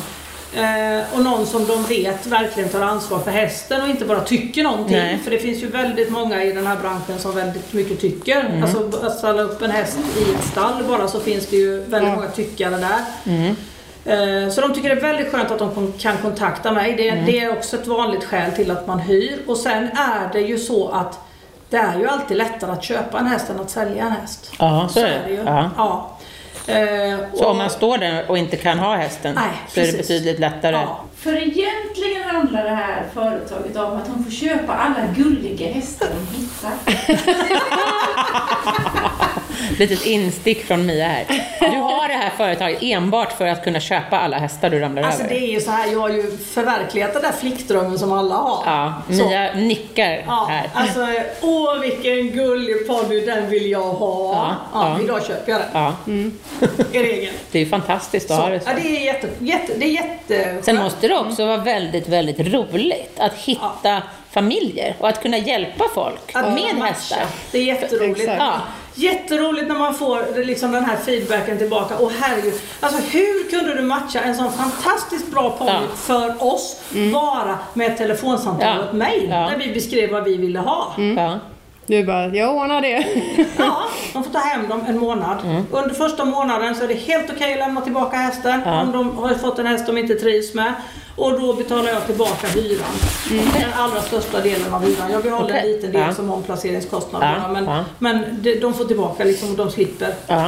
S3: Eh, och någon som de vet verkligen tar ansvar för hästen och inte bara tycker någonting.
S1: Nej.
S3: För det finns ju väldigt många i den här branschen som väldigt mycket tycker.
S1: Mm.
S3: Alltså att ställa upp en häst i ett stall bara så finns det ju väldigt många tyckare där.
S1: Mm.
S3: Eh, Så de tycker det är väldigt skönt att de kon- kan kontakta mig. Det,
S1: Mm.
S3: det är också ett vanligt skäl till att man hyr. Och sen är det ju så att det är ju alltid lättare att köpa en häst än att sälja en häst.
S1: Ja, så är det.
S3: ju.
S1: Ja.
S3: Ja. Eh,
S1: Så
S3: och-
S1: om man står där och inte kan ha hästen
S3: Nej,
S1: så är det
S3: precis.
S1: betydligt lättare.
S3: Ja.
S4: För egentligen handlar det här företaget om att hon får köpa alla gulliga hästar hon hittar.
S1: Litet instick från Mia här. Du har det här företaget enbart för att kunna köpa alla hästar du ramlar
S3: Alltså
S1: över.
S3: det är ju så här, jag har ju förverkligat den där flickdrömmen som alla har.
S1: Ja,
S3: så.
S1: Mia nickar
S3: Ja,
S1: här.
S3: alltså åh vilken gullig ponny, den vill jag ha.
S1: Ja,
S3: Ja,
S1: ja.
S3: Idag köper jag den
S1: Ja,
S3: i regel.
S1: det är ju fantastiskt att
S3: Så,
S1: ha det
S3: ja,
S1: så.
S3: det är jätte, jätte, det är jätte
S1: Sen måste det också vara väldigt, väldigt roligt att hitta familjer och att kunna hjälpa folk
S3: att
S1: med
S3: matcha.
S1: hästar.
S3: Det är jätteroligt.
S2: Exakt.
S1: Ja.
S3: Jätteroligt när man får liksom den här feedbacken tillbaka. Och herregud, alltså hur kunde du matcha en sån fantastiskt bra ponny
S1: Ja. Mm.
S3: för oss bara med ett telefonsamtal
S1: Ja.
S3: och ett mejl?
S1: Ja. Mm.
S3: Där vi beskrev vad vi ville ha.
S1: Ja.
S2: Du bara, jag ordnar det.
S3: Ja, de får ta hem dem en månad.
S1: Mm.
S3: Under första månaden så är det helt okej att lämna tillbaka hästen
S1: Ja.
S3: om de har fått en häst de inte trivs med. Och då betalar jag tillbaka hyran. Den allra största delen av hyran. Jag behåller en
S1: Mm. Okej.
S3: liten del
S1: Ja.
S3: som omplaceringskostnader.
S1: Ja,
S3: Men,
S1: ja.
S3: men de, de får tillbaka liksom och de slipper.
S1: Ja.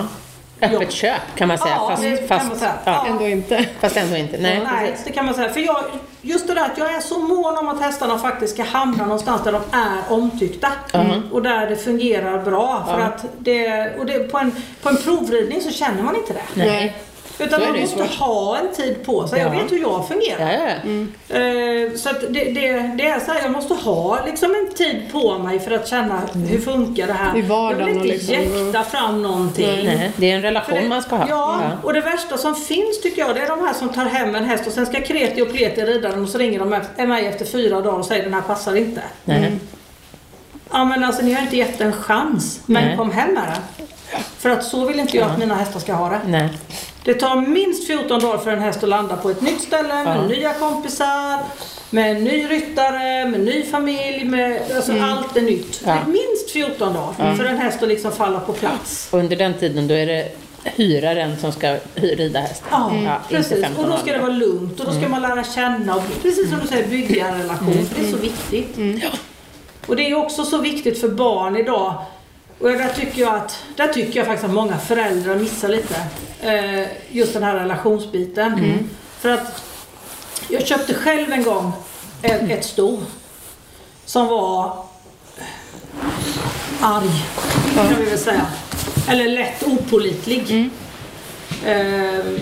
S1: Öppet
S3: Ja.
S1: köp kan man säga.
S3: Ja,
S1: fast,
S3: det kan
S1: fast,
S3: man säga.
S1: Ja.
S3: Ja.
S2: Ändå inte.
S1: fast ändå inte. Nej,
S3: Nej,
S1: precis.
S3: det kan man säga. För jag, just det där att jag är så mån om att hästarna faktiskt ska hamna någonstans där de är omtyckta. Mm. Och där det fungerar bra. För att det, och det, på, en, på en provridning så känner man inte det.
S1: Nej.
S3: Utan
S1: Så är
S3: man
S1: det ju
S3: måste ha en tid på sig. Jag
S1: Ja.
S3: vet hur jag fungerar.
S1: Ja, ja.
S3: Eh, Så att det, det, det är så här, jag måste ha liksom en tid på mig för att känna hur funkar det här.
S2: I vardagen
S3: jag vill inte
S2: och liksom-
S3: jäkta fram någonting.
S1: Nej. Det är en
S3: För det-
S1: relation man ska ha.
S3: Ja, Mm. och det värsta som finns tycker jag det är de här som tar hem en häst och sen ska kreti och pleti rida den och så ringer de efter- mig efter fyra dagar och säger den här passar inte.
S1: Nej.
S3: Ja men alltså ni har inte gett en chans, men
S1: Nej.
S3: kom hem med den. För att så vill inte jag att mina hästar ska ha det.
S1: Nej.
S3: Det tar minst 14 dagar för en häst att landa på ett nytt ställe med
S1: Ja.
S3: nya kompisar, med en ny ryttare, med ny familj, med, alltså allt är nytt.
S1: Mm. Ja. Mm.
S3: Det är minst 14 dagar för en häst att liksom falla på plats.
S1: Och under den tiden då är det hyraren som ska hy- rida hästen.
S3: Ja,
S1: Inte
S3: Mm. precis.
S1: 15
S3: Och då ska det
S1: andra.
S3: vara lugnt och då ska man lära känna och precis som du säger bygga en relation. För det är så viktigt. Och det är också så viktigt för barn idag. Och där tycker jag, att, där tycker jag faktiskt att många föräldrar missar lite. Eh, just den här relationsbiten. För att jag köpte själv en gång ett, ett sto som var arg, kan vi väl säga. Eller lätt opålitlig. Ehm,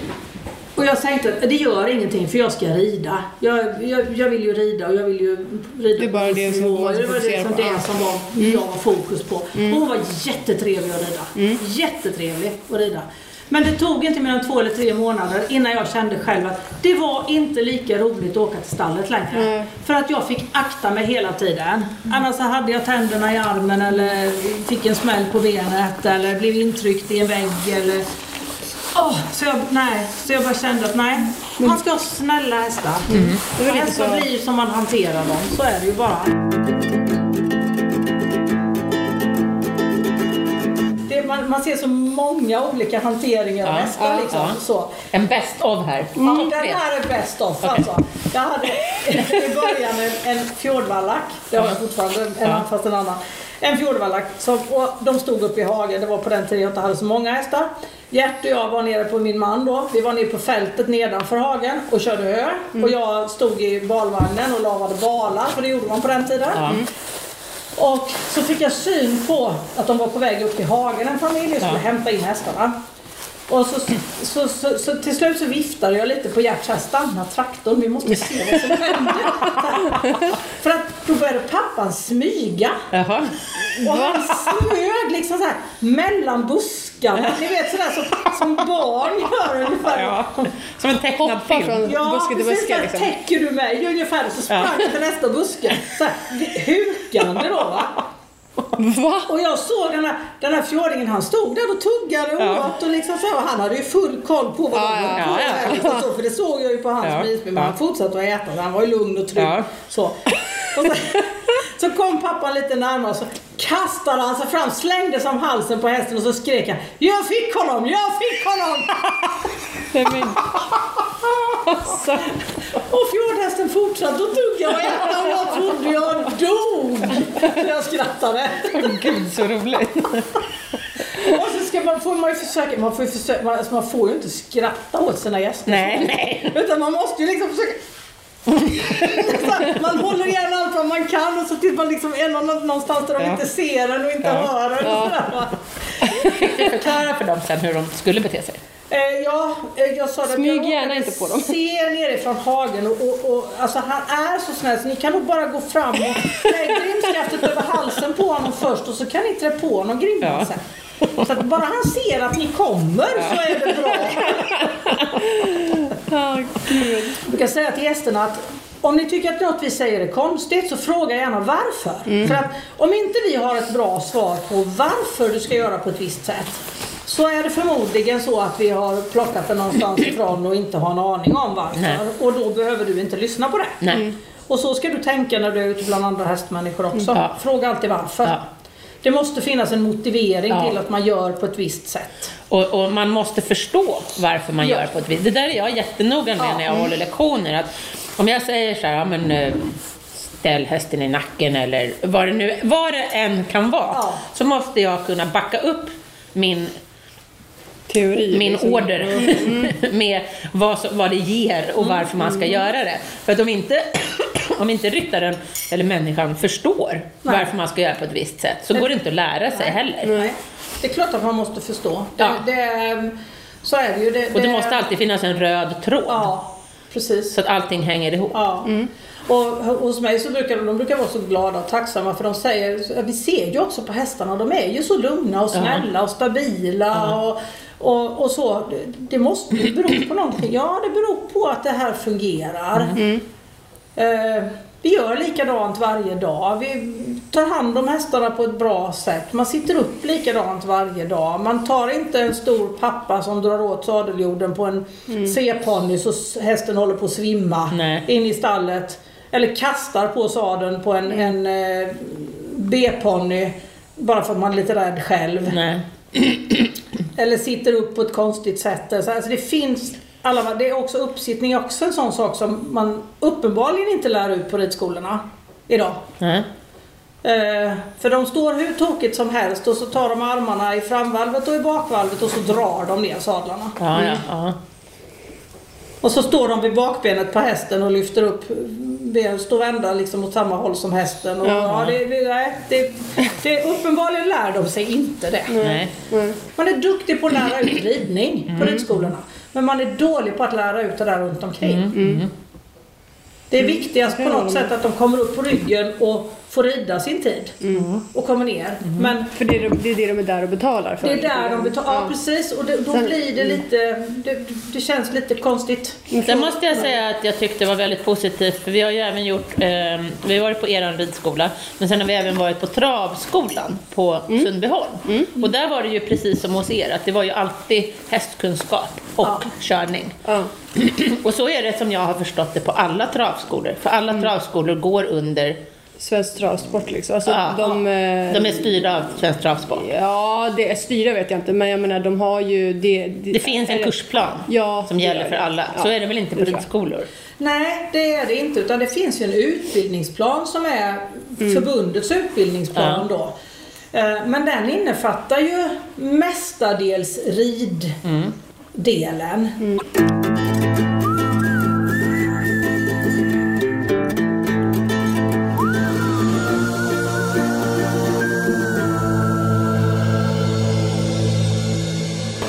S3: och jag tänkte att det gör ingenting för jag ska rida. Jag, jag, jag vill ju rida och jag vill ju rida
S2: Det är bara
S3: på
S2: det som
S3: nivåer.
S2: man
S3: Det var det
S2: fokuserar
S3: som,
S2: på.
S3: det som var,
S2: Mm.
S3: jag var fokus på. Och hon var jättetrevlig att rida.
S2: Mm.
S3: Jättetrevlig att rida. Men det tog inte mer än två eller tre månader innan jag kände själv att det var inte lika roligt att åka till stallet längre.
S2: Mm.
S3: För att jag fick akta mig hela tiden. Annars så hade jag tänderna i armen eller fick en smäll på benet eller blev intryckt i en vägg eller Åh, så, jag, nej, så jag bara kände att nej, man ska ha snälla hästar.
S2: Mm. Det var lite
S3: Hästar
S2: så-
S3: blir som man hanterar dem, så är det ju bara. Det, man, man ser så många olika hanteringar av
S1: Ja,
S3: hästar.
S1: ja,
S3: liksom,
S1: ja.
S3: så.
S1: En best of här.
S3: Mm. Ja, den
S1: Konkret.
S3: här är bäst av. Alltså. Jag hade i början en, en fjordvallack, det har jag fortfarande, en,
S1: Ja.
S3: fast en annan. En fjordvallack, som, och de stod uppe i hagen, det var på den tiden jag inte hade så många hästar. Gert och jag var nere på min man då, vi var nere på fältet nedanför hagen och körde hö.
S1: Mm.
S3: Och jag stod i balvagnen och lavade balar, för det gjorde man på den tiden.
S1: Ja.
S3: Och så fick jag syn på att de var på väg upp till hagen, en familj, och skulle
S1: Ja.
S3: hämta in hästarna. Och så, så, så, så till slut så viftade jag lite på Gert så här, stanna traktorn, vi måste se vad som händer. För att då började pappan smyga.
S1: Jaha.
S3: Och han smög liksom så här mellan buskarna. Ni vet sådär som, som barn gör ungefär.
S1: Ja. Som en tecknad
S2: Hoppa
S1: film.
S2: från buske till
S3: precis,
S2: buske.
S3: såhär,
S2: Liksom.
S3: Täcker du mig ungefär? Så sprang jag till nästa buske. Såhär, hukande då va.
S2: Va?
S3: Och jag såg den här, den här fjordingen, han stod där och tuggade och
S1: Ja.
S3: åt och liksom så. här, Och han hade ju full koll på vad
S2: Ja,
S3: de höll
S1: ja,
S3: på
S1: ja,
S3: med,
S1: ja.
S3: liksom så, För det såg jag ju på hans
S1: Ja,
S3: minspel.
S1: ja.
S3: Men han fortsatte att äta, så han var ju lugn och trygg.
S1: Ja.
S3: Så. Och så, så kom pappan lite närmare och så kastade han sig fram, slängde sig om halsen på hästen och så skrek han Jag fick honom, jag fick honom!
S1: Nej, men... alltså.
S3: Och fjordhästen fortsatte att tugga och äta och jag trodde jag dog. Så jag skrattade.
S1: Åh, Gud, så roligt.
S3: Och så ska man, får man ju försöka, man får, ju försöka, man, alltså man får ju inte skratta åt sina gäster.
S1: Nej, nej.
S3: Utan man måste ju liksom försöka Så här, man håller igen allt vad man kan och så tills man liksom är någon- någonstans där de
S1: Ja.
S3: inte ser en och inte
S1: Ja.
S3: hör en.
S1: Ja.
S3: och sådär, va.
S1: Fick du förklara för dem sen hur de skulle bete sig?
S3: Eh, ja, eh, jag sa det att
S2: Smyg
S3: jag
S2: gärna
S3: råkade
S2: inte på dem.
S3: Se nerifrån hagen och, och, och alltså han är så snäll så ni kan nog bara gå fram och lägga grimskaftet över halsen på honom först och så kan ni trä på honom grimman
S1: Ja.
S3: sen. Så att bara han ser att ni kommer så är det bra.
S2: Ja, gud.
S3: Jag brukar säga till gästerna att om ni tycker att något vi säger är konstigt så fråga gärna varför.
S1: Mm.
S3: För att om inte vi har ett bra svar på varför du ska göra på ett visst sätt så är det förmodligen så att vi har plockat det någonstans ifrån och inte har en aning om varför.
S1: Nej.
S3: Och då behöver du inte lyssna på det. Mm.
S1: Nej.
S3: Och så ska du tänka när du är ute bland andra hästmänniskor också.
S1: Ja.
S3: Fråga alltid varför.
S1: Ja.
S3: Det måste finnas en motivering
S1: Ja.
S3: till att man gör på ett visst sätt.
S1: Och, och man måste förstå varför man
S3: Ja.
S1: gör på ett vis. Det där är jag jättenoga med
S3: Ja.
S1: när jag håller lektioner. Att om jag säger så här, ja, men, eh, ställ hästen i nacken eller vad det nu vad det än kan vara.
S3: Ja.
S1: Så måste jag kunna backa upp min,
S2: Teori.
S1: min
S2: liksom.
S1: order med vad, som- vad det ger och varför man ska göra det. För att om inte, om inte ryttaren eller människan förstår varför man ska göra på ett visst sätt så går det inte att lära sig heller.
S3: Nej. Det är klart att man måste förstå.
S1: Ja.
S3: Det, det, så är det ju. Det,
S1: Och det måste alltid finnas en röd tråd.
S3: Ja, precis.
S1: Så att allting hänger ihop. Mm.
S3: Ja. Och h- hos mig så brukar de, de brukar vara så glada och tacksamma för de säger, vi ser ju också på hästarna, de är ju så lugna och snälla och stabila och, och, och så. Det- Det måste ju bero på någonting. Ja, det beror på att det här fungerar.
S1: Mm.
S3: Eh, vi gör likadant varje dag. Vi tar hand om hästarna på ett bra sätt. Man sitter upp likadant varje dag. Man tar inte en stor pappa som drar åt sadeljorden på en C-ponny så s- hästen håller på att svimma
S1: Mm. Nej.
S3: in i stallet. Eller kastar på sadeln på en, en eh, B-ponny bara för att man är lite rädd själv.
S1: Nej.
S3: Eller sitter upp på ett konstigt sätt. Alltså alltså det finns alla, det är också uppsittning är också en sån sak som man uppenbarligen inte lär ut på ridskolorna idag.
S1: Nej.
S3: Eh, för de står hur tokigt som helst och så tar de armarna i framvalvet och i bakvalvet och så drar de ner sadlarna.
S1: Ja, ja, ja.
S3: Och så står de vid bakbenet på hästen och lyfter upp ben, står vända liksom åt samma håll som hästen. Och, ja, det, det, nej, det, det, uppenbarligen lär de sig inte det.
S1: Nej.
S2: Mm.
S3: Man är duktig på att lära ut ridning på ridskolorna. Men man är dålig på att lära ut det där runt omkring. Mm. Det är viktigast på något sätt att de kommer upp på ryggen och får rida sin tid. Och kommer ner. Men
S2: För det är, det är det de är där och betalar för.
S3: det är där de betalar. Ja, Mm. precis. Och det, då
S2: Sen-
S3: blir det lite... Det, det känns lite konstigt.
S1: Sen måste jag säga att jag tyckte det var väldigt positivt för vi har ju även gjort, eh, vi har varit på eran ridskola men sen har vi även varit på travskolan på
S2: Mm.
S1: Sundbyholm. Och där var det ju precis som hos er att det var ju alltid hästkunskap och
S3: Ja.
S1: körning.
S2: Ja.
S1: Och så är det som jag har förstått det på alla travskolor för alla
S2: Mm.
S1: travskolor går under,
S2: Svensk travsport liksom. Alltså,
S1: Ja.
S2: de, eh,
S1: de är styrda av Svensk Travsport.
S2: Ja, det är styra vet jag inte, men jag menar de har ju... Det,
S1: Det finns en
S2: eller-
S1: kursplan
S2: Ja,
S1: som
S2: det
S1: gäller
S2: gör
S1: för
S2: det.
S1: alla.
S2: Ja.
S1: Så är det väl inte på
S2: Det tror jag.
S1: ridskolor?
S3: Nej, det är det inte. Utan det finns ju en utbildningsplan som är förbundets utbildningsplan då. Eh, Men den innefattar ju mestadels riddelen.
S2: Vi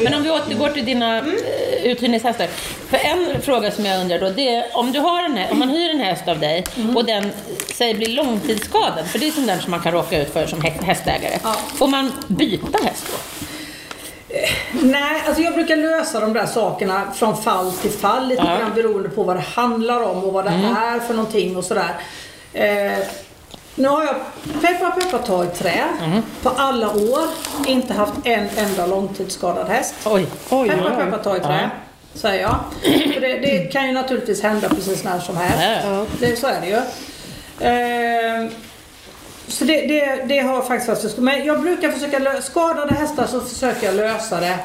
S1: Men om vi återgår till dina mm. uthyrningshästar. För en fråga som jag undrar då, det är om, du har en, hä- om man hyr en häst av dig
S3: Mm.
S1: och den säg, blir långtidsskadad, för det är sånt där som man kan råka ut för som hä- hästägare.
S3: Ja.
S1: Får man byta häst då?
S3: Nej, alltså jag brukar lösa de där sakerna från fall till fall lite
S1: Ja.
S3: grann beroende på vad det handlar om och vad det är för någonting och sådär. Eh, nu har jag peppa peppa ta i trä på alla år inte haft en enda långtidsskadad häst.
S1: Oj.
S2: Oj,
S3: peppa
S2: oj,
S3: peppa
S2: oj.
S3: ta i trä, säger jag. För det, det kan ju naturligtvis hända precis när som helst.
S1: Ja.
S3: Det, så är det ju. Eh, så det, det, det har faktiskt varit så skönt. Men jag brukar försöka lösa, skadade hästar så försöker jag lösa det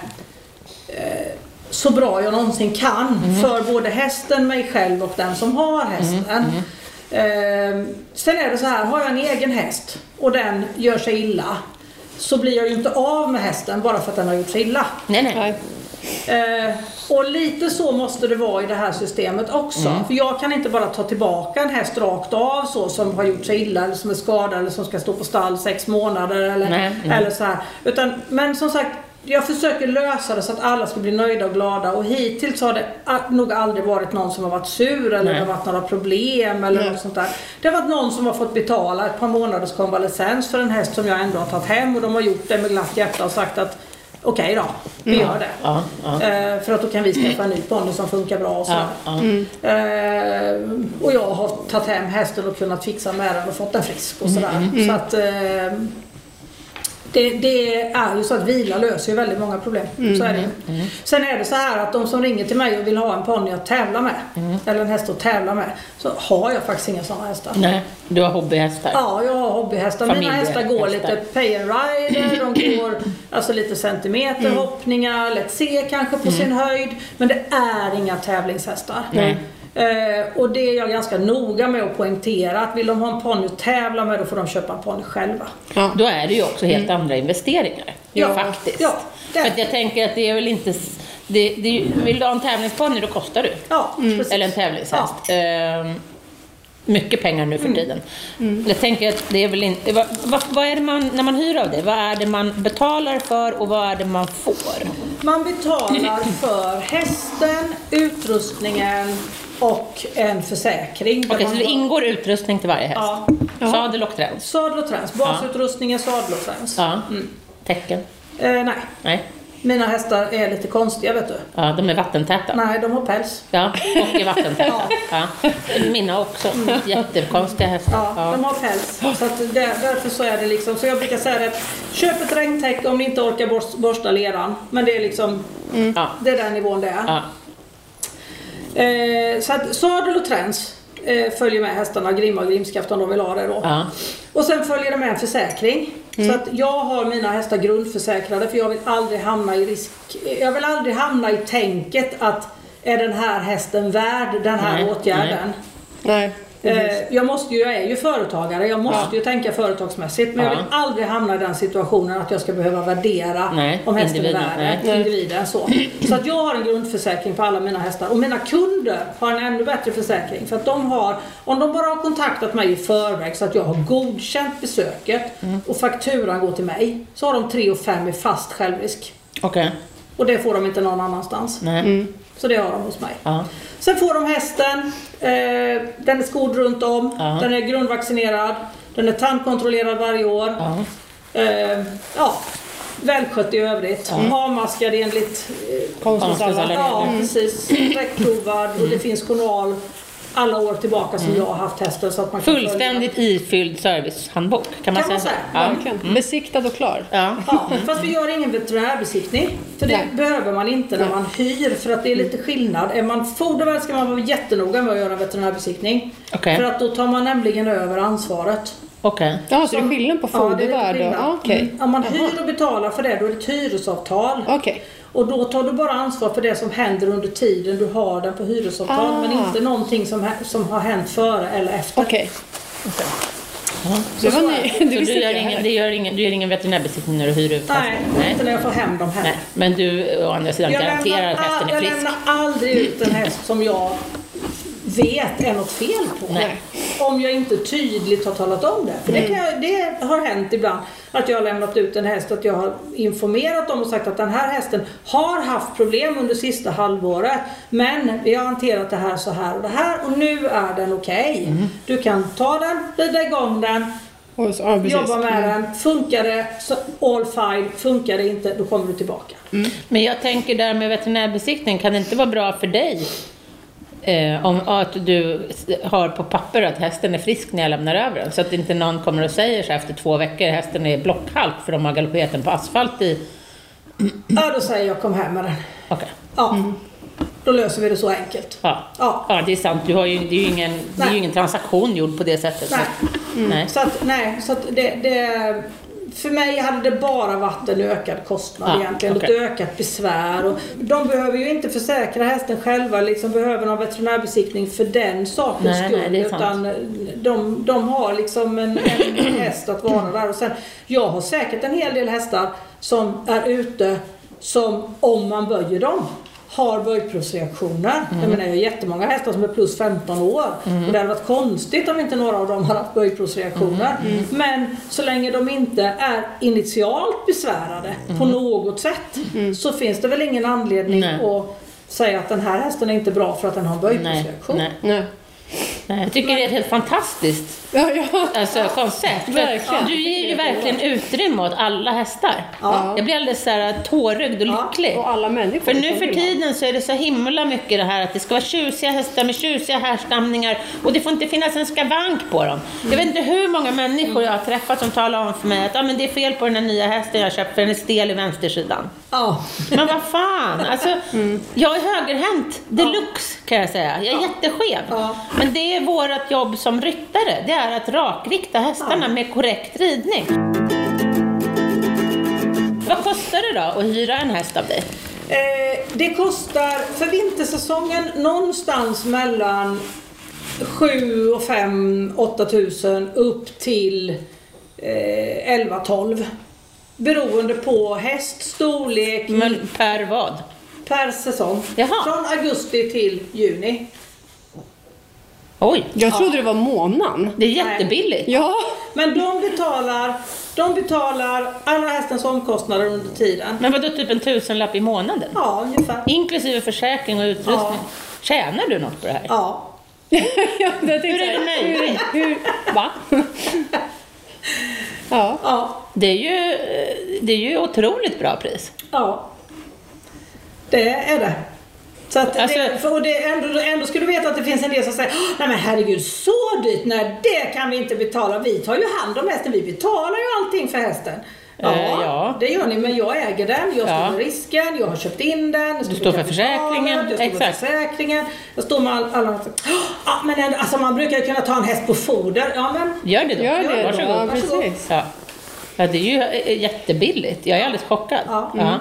S3: eh, så bra jag någonsin kan
S2: Mm.
S3: för både hästen, mig själv och den som har hästen.
S2: mm.
S3: Eh, sen är det så här, har jag en egen häst och den gör sig illa så blir jag ju inte av med hästen bara för att den har gjort sig illa.
S1: Nej, nej.
S2: Nej.
S3: Eh, och lite så måste det vara i det här systemet också.
S1: Mm.
S3: För jag kan inte bara ta tillbaka en häst rakt av så som har gjort sig illa eller som är skadad eller som ska stå på stall sex månader eller,
S1: Nej, nej.
S3: eller så här. Utan, men som sagt, jag försöker lösa det så att alla ska bli nöjda och glada och hittills har det a- nog aldrig varit någon som har varit sur eller
S1: Nej.
S3: det har varit några problem eller något sånt där. Det har varit någon som har fått betala ett par månaders konvalescens för en häst som jag ändå har tagit hem och de har gjort det med glatt hjärta och sagt att okej då, vi gör det.
S1: Mm. Ja, ja.
S3: Eh, För att då kan vi skaffa en ny ponny som funkar bra och sådär.
S1: Ja, ja.
S3: Eh, Och jag har tagit hem hästen och kunnat fixa med den och fått den frisk och
S1: Mm,
S3: sådär. Så att, eh, det, det är ju så att vila löser ju väldigt många problem.
S1: Mm.
S3: Så är det. ju. Sen är det så här att de som ringer till mig och vill ha en ponny att tävla med,
S1: Mm.
S3: eller en häst att tävla med, så har jag faktiskt inga sådana hästar.
S1: nej. Du har hobbyhästar?
S3: Ja, jag har hobbyhästar. Mina hästar går
S1: Familjehästar.
S3: lite pay and rider, de går alltså lite
S1: Mm.
S3: centimeterhoppningar, lätt se kanske på sin höjd. Men det är inga tävlingshästar.
S1: Nej.
S3: Eh, och det är jag ganska noga med att poängtera att vill de ha en ponny att tävla med då får de köpa en ponny själva.
S2: Ja.
S1: Då är det ju också helt andra investeringar.
S3: Mm. Ja,
S1: Faktiskt.
S3: ja, det är
S1: För att jag tänker att det är väl inte... s- Det, det, är ju- vill du ha en tävlingsponny, då kostar du.
S3: Ja, Mm. precis.
S1: Mm. Eller en tävlingshäst. Ehm, mycket pengar nu för tiden. Jag tänker att det är väl inte... Vad, vad, vad är det man, när man hyr av det, vad är det man betalar för och vad är det man får?
S3: Man betalar för hästen, utrustningen och en försäkring. där
S1: Okej, så
S3: man
S1: det
S3: har-
S1: ingår utrustning till varje häst?
S3: Ja.
S1: Sadel och träns?
S3: Sadel och träns. Basutrustning är sadel och träns.
S1: Ja. Tecken?
S3: Eh, nej,
S1: Nej.
S3: Mina hästar är lite konstiga vet du.
S1: Ja, de är vattentäta.
S3: Nej, de har päls.
S1: Ja, och är vattentäta. ja. Mina också. Jättekonstiga hästar.
S3: Mm. Ja,
S1: Ja.
S3: de har päls. Så att där, därför så är det liksom. Så jag brukar säga det. att Köp ett regntäcke om ni inte orkar borst, borsta leran. Men det är liksom,
S1: Ja.
S3: det är den nivån det är.
S1: Ja.
S3: Eh, så att sadel och träns eh, följer med hästarna, grimma och grimskaft om de vill ha det då.
S1: Ja.
S3: Och sen följer det med en försäkring.
S1: Mm.
S3: Så att jag har mina hästar grundförsäkrade för jag vill aldrig hamna i risk. Jag vill aldrig hamna i tänket att är den här hästen värd den här
S1: Nej,
S3: åtgärden?
S1: nej.
S2: Nej.
S3: Eh, jag, måste ju, jag är ju företagare, jag måste
S1: Ja.
S3: ju tänka företagsmässigt men jag
S1: Ja.
S3: vill aldrig hamna i den situationen att jag ska behöva värdera
S1: Nej,
S3: om hästen är
S1: individen,
S3: värd
S1: nej.
S3: individen. Så. så att jag har en grundförsäkring på alla mina hästar och mina kunder har en ännu bättre försäkring för att de har, om de bara har kontaktat mig i förväg så att jag har godkänt besöket
S1: Mm.
S3: och fakturan går till mig så har de 3 och 5 i fast självrisk.
S1: Okej.
S3: Och det får de inte någon annanstans.
S1: Nej.
S3: Så det har de hos mig.
S1: Ja.
S3: Sen får de hästen, eh, den är skodd runt om,
S1: Ja.
S3: den är grundvaccinerad, den är tandkontrollerad varje år.
S1: Ja.
S3: Eh, ja, välskött i övrigt, avmaskad enligt eh,
S1: Konstens alla
S3: Ja,
S1: regler. Mm.
S3: precis. Sträckprovad och det finns journal alla år tillbaka som jag har haft hästen. Så att man kan följa.
S1: Fullständigt ifylld servicehandbok, kan man
S3: Kan man
S1: säga.
S3: säga.
S1: Ja.
S2: Verkligen. Besiktad och klar.
S1: Ja.
S3: Ja, fast vi gör ingen veterinärbesiktning. För det
S2: Nej.
S3: behöver man inte när man hyr för att det är lite skillnad. Är man fodervärd ska man vara jättenoga med att göra en veterinärbesiktning.
S1: Okej.
S3: För att då tar man nämligen över ansvaret.
S1: Okej.
S2: Ja, så det är skillnad på fodervärd och... Ja, Ah, Okej.
S3: Mm. Om man hyr och betalar för det då är det ett hyresavtal.
S2: Okej.
S3: Och då tar du bara ansvar för det som händer under tiden du har den på hyresavtal.
S2: Ah.
S3: Men inte någonting som, hä- som har hänt före eller efter.
S2: Okej.
S3: Så
S2: Det var
S3: så
S2: ny.
S3: är
S2: Det
S1: Så
S2: visste
S1: du gör,
S2: inte jag
S1: ingen,
S2: heller.
S1: du, gör ingen, du gör ingen veterinärbesiktning när du hyr ut
S3: Nej,
S1: hästen?
S3: inte när jag får hem dem här.
S1: Nej. Men du å andra sidan
S3: Jag
S1: garanterar
S3: lämnar,
S1: att hästen är
S3: jag
S1: frisk?
S3: lämnar aldrig ut en häst som jag vet är något fel på.
S1: Nej. Mm.
S3: Om jag inte tydligt har talat om det. För det, kan jag, det har hänt ibland att jag har lämnat ut en häst, att jag har informerat dem och sagt att den här hästen har haft problem under sista halvåret. Men vi har hanterat det här så här och det här och nu är den okej.
S1: Mm.
S3: Du kan ta den, rida igång den,
S2: Och så, ja, precis.
S3: jobba med
S1: Mm.
S3: den. Funkar det, så all fine. Funkar det inte, då kommer du tillbaka.
S1: Men jag tänker där med veterinärbesiktning, kan det inte vara bra för dig eh, om att du s- har på papper att hästen är frisk när jag lämnar över den? Så att inte någon kommer och säger så här efter två veckor, hästen är blockhalk för de har galopperat den på asfalt i...
S3: Ja, då säger jag kom hem med den.
S1: Okej,
S3: Ja,
S1: Mm.
S3: då löser vi det så enkelt.
S1: ja.
S3: Ja.
S1: ja det är sant. Du har ju, det, är ju ingen, det är ju
S3: Nej.
S1: ingen transaktion gjord på det sättet. så
S3: Nej.
S1: att- Nej.
S3: Så att, nej, så att det, det, för mig hade det bara varit en ökad kostnad
S1: Ja,
S3: egentligen.
S1: Ah, okej.
S3: Ett ökat besvär. Och de behöver ju inte försäkra hästen själva, liksom behöver någon veterinärbesiktning för den sakens
S1: Nej,
S3: skull.
S1: nej, det är sant.
S3: utan de, de har liksom en, en häst att vara där. Och sen, jag har säkert en hel del hästar som är ute som, om man böjer dem, har böjprovsreaktioner.
S1: Mm.
S3: Jag menar, jag har jättemånga hästar som är plus 15 år. Och det hade varit konstigt om inte några av dem hade haft böjprovsreaktioner.
S1: Mm.
S3: Men så länge de inte är initialt besvärade på något sätt så finns det väl ingen anledning
S1: Mm. Nej.
S3: att säga att den här hästen är inte bra för att den har
S1: Nej.
S3: böjprovsreaktion.
S1: Nej.
S2: Nej.
S1: Nej. Jag tycker det är ett helt fantastiskt
S2: Mm. Ja, ja.
S1: alltså, koncept. För att
S2: Verkligen.
S1: Du ger ju verkligen utrymme åt alla hästar.
S3: Ja.
S1: Jag blir alldeles så här äh, tårögd och
S3: Ja,
S1: lycklig.
S2: Och alla människor.
S1: För nu
S2: som
S1: för
S2: vill ha.
S1: tiden så är det så himla mycket det här att det ska vara tjusiga hästar med tjusiga härstamningar och det får inte finnas en skavank på dem. Jag vet inte hur många människor jag har träffat som talar om för mig att ah, men det är fel på den här nya hästen jag köpt för den är stel i vänstersidan.
S3: Ja.
S1: Men vad fan, alltså, jag är högerhänt deluxe kan jag säga. Jag är jätteskev.
S3: Ja.
S1: Men det är vårt jobb som ryttare, det är att rakrikta hästarna med korrekt ridning. Vad kostar det då att hyra en häst av dig?
S3: Eh, det kostar för vintersäsongen någonstans mellan 7 och 5, 8 tusen upp till eh, 11, 12. Beroende på häst, storlek
S2: Mm.
S1: Men per vad?
S3: per säsong.
S1: Jaha.
S3: Från augusti till juni.
S1: Oj,
S2: Jag trodde det var månaden.
S1: det är jättebilligt.
S2: Ja.
S3: Men de betalar, de betalar alla hästens omkostnader under tiden.
S1: Men vadå, typ en tusenlapp i månaden?
S3: Ja, ungefär.
S1: Inklusive försäkring och utrustning.
S3: Ja.
S1: Tjänar du något på det här?
S3: Ja.
S2: ja det tänkte
S1: Hur är
S2: jag.
S1: det möjligt?
S2: hur- Va? ja.
S3: ja.
S1: Det är ju, eh, det är ju otroligt bra pris.
S3: Ja. Det är det. Så att
S1: Alltså-
S3: det, för- och det, ändå, ändå ska du veta att det finns en del som säger "Åh, Nej men herregud, så dyrt? Nej, det kan vi inte betala. Vi tar ju hand om hästen. Vi betalar ju allting för hästen. Ja,
S1: Eh, ja.
S3: det gör ni. Men jag äger den. Jag
S1: Ja.
S3: står med risken. Jag har köpt in den. Jag
S1: Du står för
S3: kapitalet,
S1: försäkringen,
S3: Jag står
S1: exakt.
S3: med försäkringen. Jag står med all- alla... All, men ändå, alltså man brukar ju kunna ta en häst på foder. Ja, men
S1: Gör det då.
S2: Gör det då.
S1: Varsågod.
S2: Ja,
S3: Varsågod.
S2: precis.
S1: Ja. ja, det är ju eh, jättebilligt. Jag är alldeles chockad.
S3: Ja. Mm.
S1: Ja.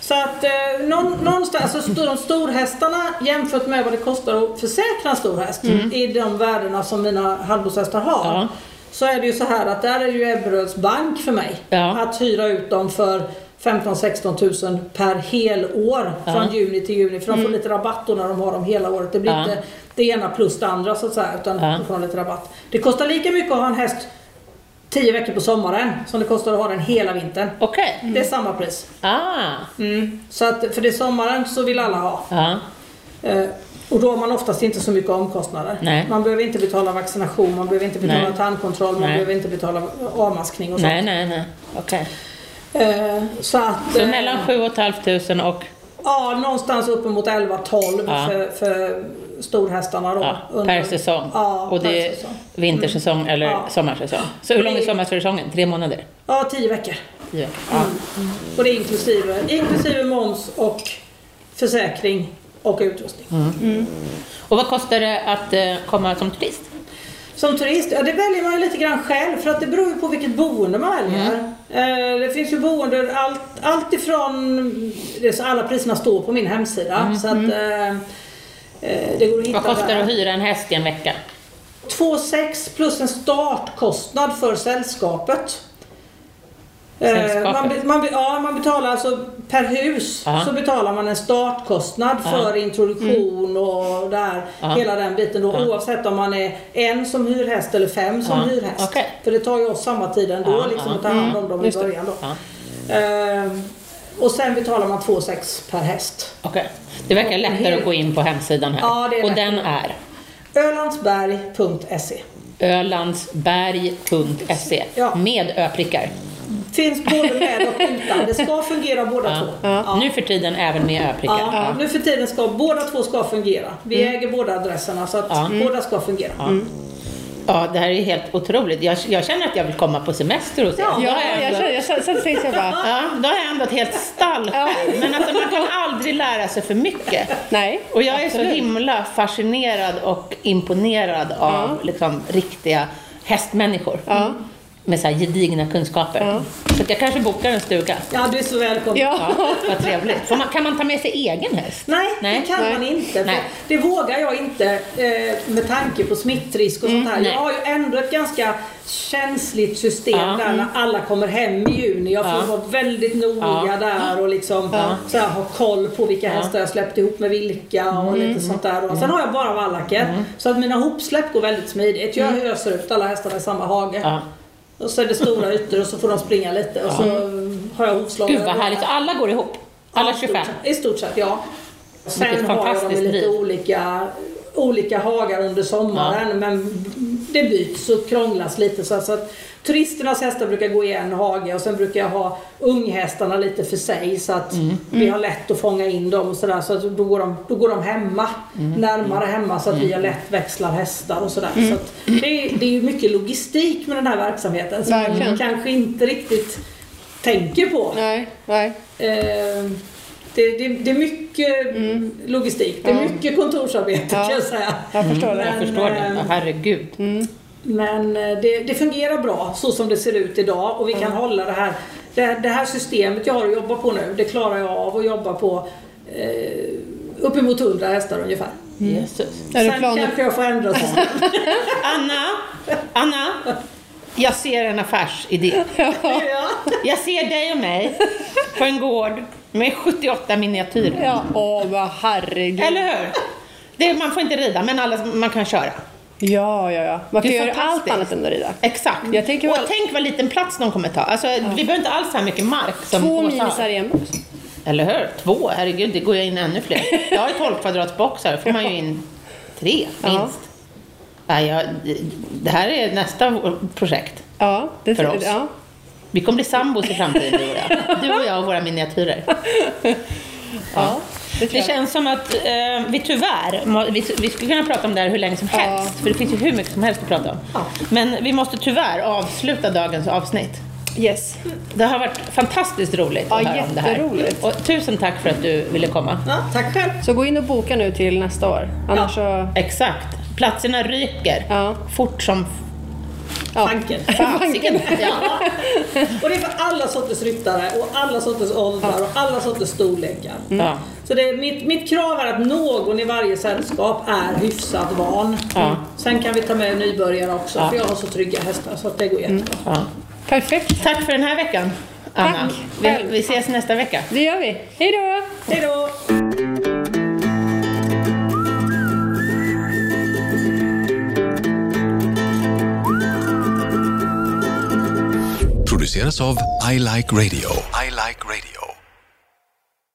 S3: Så att eh, någon, någonstans, alltså st- de storhästarna jämfört med vad det kostar att försäkra en stor häst i de värdena som mina halvblodshästar har.
S1: Mm. Ja.
S3: Så är det ju så här att där är ju Ebberöds bank för mig.
S1: Ja.
S3: Att hyra ut dem för 15-16 000 per helår från juni till juni. För de får lite rabatt då när de har dem hela året. Det blir
S1: Mm. Ja.
S3: inte det ena plus det andra så att säga. Utan
S1: Ja.
S3: de får lite rabatt. Det kostar lika mycket att ha en häst 10 veckor på sommaren som det kostar att ha den hela vintern.
S1: Okej.
S3: Det är samma pris.
S1: Ah.
S3: Mm. Så att, för det är sommaren så vill alla ha.
S1: Ja.
S3: Eh, och då har man oftast inte så mycket omkostnader.
S1: Nej.
S3: Man behöver inte betala vaccination, man behöver inte betala
S1: Nej.
S3: tandkontroll, man
S1: Nej.
S3: behöver inte betala avmaskning och sånt.
S1: Nej, nej, nej. Okej.
S3: Eh, så att,
S1: Så
S3: eh,
S1: mellan 7 500 och...
S3: Ja, någonstans uppemot 11-12
S1: Ja.
S3: för, för storhästarna då.
S1: Ja,
S3: Under-
S1: per säsong.
S3: Ja,
S1: och det
S3: per
S1: är
S3: säsong. Mm.
S1: vintersäsong eller
S3: Ja.
S1: sommarsäsong. Så hur lång är
S3: Det-
S1: sommarsäsongen? Tre månader?
S3: Ja, 10 veckor.
S1: Tio veckor.
S3: Mm. Och det är inklusive, inklusive moms och försäkring och utrustning.
S1: Och vad kostar det att eh, komma som turist?
S3: Som turist, ja det väljer man ju lite grann själv för att det beror ju på vilket boende man
S1: Mm.
S3: väljer. Eh, Det finns ju boenden, allt, allt ifrån, det är så alla priserna står på min hemsida. Så att, eh, eh, det går att hitta
S1: Mm. Vad kostar det
S3: där.
S1: att hyra en häst i en vecka?
S3: 2,6 plus en startkostnad för sällskapet. Eh,
S1: Sällskapet.
S3: Man, be- man, be- ja, man betalar alltså per hus
S1: Ja.
S3: så betalar man en startkostnad för introduktion
S2: Mm.
S3: och där,
S1: Ja.
S3: hela den biten då,
S1: Ja.
S3: oavsett om man är en som hyrhäst eller fem som
S1: Ja.
S3: hyrhäst.
S1: Okej.
S3: För det tar ju oss samma tid ändå
S1: Ja,
S3: liksom,
S1: ja.
S3: att ta hand om dem
S2: Mm.
S3: i
S2: Just det.
S3: början då.
S1: Ja.
S3: Ehm, och sen betalar man 2,6 per häst.
S1: Okej. Det verkar lättare att gå in på hemsidan här.
S3: Ja, det är
S1: och
S3: lättare.
S1: den är
S3: Ölandsberg.se
S1: ölandsberg.se
S3: Ja.
S1: med ö-prickar.
S3: Finns både med och utan. Det ska fungera båda
S1: Ja.
S3: två. Ja.
S1: Nu för tiden även med ö-prickar.
S3: Ja,
S1: Ja. Mm.
S3: Nu för tiden ska båda två ska fungera. Vi äger båda adresserna så att
S1: Ja.
S3: båda ska fungera.
S1: Ja, det här är helt otroligt. Jag, jag känner att jag vill komma på semester hos er.
S3: Ja,
S1: Då har
S2: Ja,
S1: jag
S2: jag
S1: ändå-
S2: känner, jag känner, sen tänkte jag bara,
S1: Ja, då har jag ändå ett helt stall
S2: Ja.
S1: själv. Men alltså, man kan aldrig lära sig för mycket.
S2: nej.
S1: Och jag är så
S2: absolut.
S1: himla fascinerad och imponerad av liksom, riktiga hästmänniskor. Med så här gedigna kunskaper. Så att jag kanske bokar en stuga.
S3: Ja, du är så välkommen.
S2: Ja.
S1: Ja, vad trevligt. Får man, kan man ta med sig egen häst?
S3: Nej,
S1: Nej.
S3: det kan
S1: Nej.
S3: man inte. För
S1: Nej.
S3: det vågar jag inte eh, med tanke på smittrisk och sånt här.
S1: Mm. nej.
S3: Jag har ju ändå ett ganska känsligt system
S1: Ja, Mm.
S3: där när alla kommer hem i juni. Jag får
S1: Ja.
S3: vara väldigt noga
S1: Ja.
S3: där och liksom så här, ha koll på vilka hästar jag släppt ihop med vilka och
S1: Mm.
S3: lite sånt där. Och sen har jag bara vallacker. Så att mina hopsläpp går väldigt smidigt. Jag öser ut alla hästarna i samma hage.
S1: Mm. Ja.
S3: Och så är det stora ytor och så får de springa lite och så har jag hovslagare.
S1: Gud vad härligt. Och Alla går ihop. Alla
S3: Ja, i stort
S1: 25.
S3: sett- I stort sett, ja. Sen
S1: Vilket
S3: har jag dem i
S1: fantastiskt
S3: lite
S1: driv.
S3: olika, olika hagar under sommaren men det byts och krånglas lite. Så, så att turisternas hästar brukar gå i en hage och sen brukar jag ha unghästarna lite för sig så att
S1: Mm.
S3: vi har lätt att fånga in dem och sådär. Så att då, går de, då går de hemma,
S1: Mm.
S3: närmare hemma så att vi har lätt växlar hästar och sådär. Så att det, är- det är ju mycket logistik med den här verksamheten som man
S2: Verkligen.
S3: kanske inte riktigt tänker på.
S2: Nej, nej.
S3: Eh, det, det, det är mycket logistik, det är mycket kontorsarbete
S2: Mm. Ja.
S3: kan jag säga.
S1: Mm.
S2: Jag förstår det.
S1: Jag förstår det.
S3: eh,
S1: Ja, Herregud.
S3: Men eh, det, det fungerar bra så som det ser ut idag och vi kan hålla det här, det, det här systemet jag har att jobba på nu, det klarar jag av att jobba på eh, uppemot 100 hästar ungefär.
S1: Mm. Jesus.
S2: Är det
S3: Sen
S2: planer?
S3: kanske jag får ändra systemet.
S1: Anna, Anna. Jag ser en affärsidé.
S3: ja.
S1: Jag ser dig och mig på en gård med 78 miniatyrer.
S2: Ja, åh vad herregud.
S1: Eller hur? Det, man får inte rida, men alla, man kan köra.
S2: Ja, ja, ja. Man
S1: Det
S2: kan
S1: är
S2: göra allt
S1: fantastiskt.
S2: annat än att rida.
S1: Exakt.
S2: Jag tänker
S1: och
S2: väl-
S1: tänk vad liten plats de kommer ta. Alltså, Vi behöver inte alls så här mycket mark. Som
S2: Två
S1: Åsa har.
S2: minisar i en buss.
S1: Eller hur? Två, herregud, det går jag in ännu fler. Jag har ju 12 kvadratsboxar, då får man ju in tre
S2: Ja.
S1: minst. Nej, jag, det här är nästa projekt.
S2: Ja, det
S1: För oss.
S2: Ja.
S1: Vi kommer bli sambos i framtiden, du och jag. Du och jag och våra miniatyrer.
S2: Ja, det
S1: Det
S2: tror jag.
S1: känns som att eh, vi tyvärr, må- vi, vi skulle kunna prata om det här hur länge som
S2: Ja.
S1: helst, för det finns ju hur mycket som helst att prata om.
S3: Ja.
S1: Men vi måste tyvärr avsluta dagens avsnitt.
S2: Yes.
S1: Det har varit fantastiskt roligt att
S2: Ja,
S1: höra om det här.
S2: jätteroligt.
S1: Och tusen tack för att du ville komma.
S3: Ja, tack själv.
S2: Så gå in och boka nu till nästa år. Annars så...
S1: Exakt. Platserna ryker
S2: Ja.
S1: fort som
S2: Ja.
S3: Tanken.
S1: fasiken. Ja.
S3: Och det är för alla sorters ryttare och alla sorters åldrar och alla sorters storlekar.
S2: Mm.
S1: Ja.
S3: Så det är, mitt, mitt krav är att någon i varje sällskap är hyfsat van.
S1: Ja.
S3: Sen kan vi ta med nybörjare också,
S1: Ja. Mm.
S3: för jag har så trygga hästar så att det går jättebra.
S1: Ja.
S2: Perfekt.
S1: Tack för den här veckan, Anna.
S2: Tack.
S1: Vi, vi ses nästa vecka.
S2: Det gör vi. Hej då!
S3: Hej då!
S5: produceras av I Like Radio. I like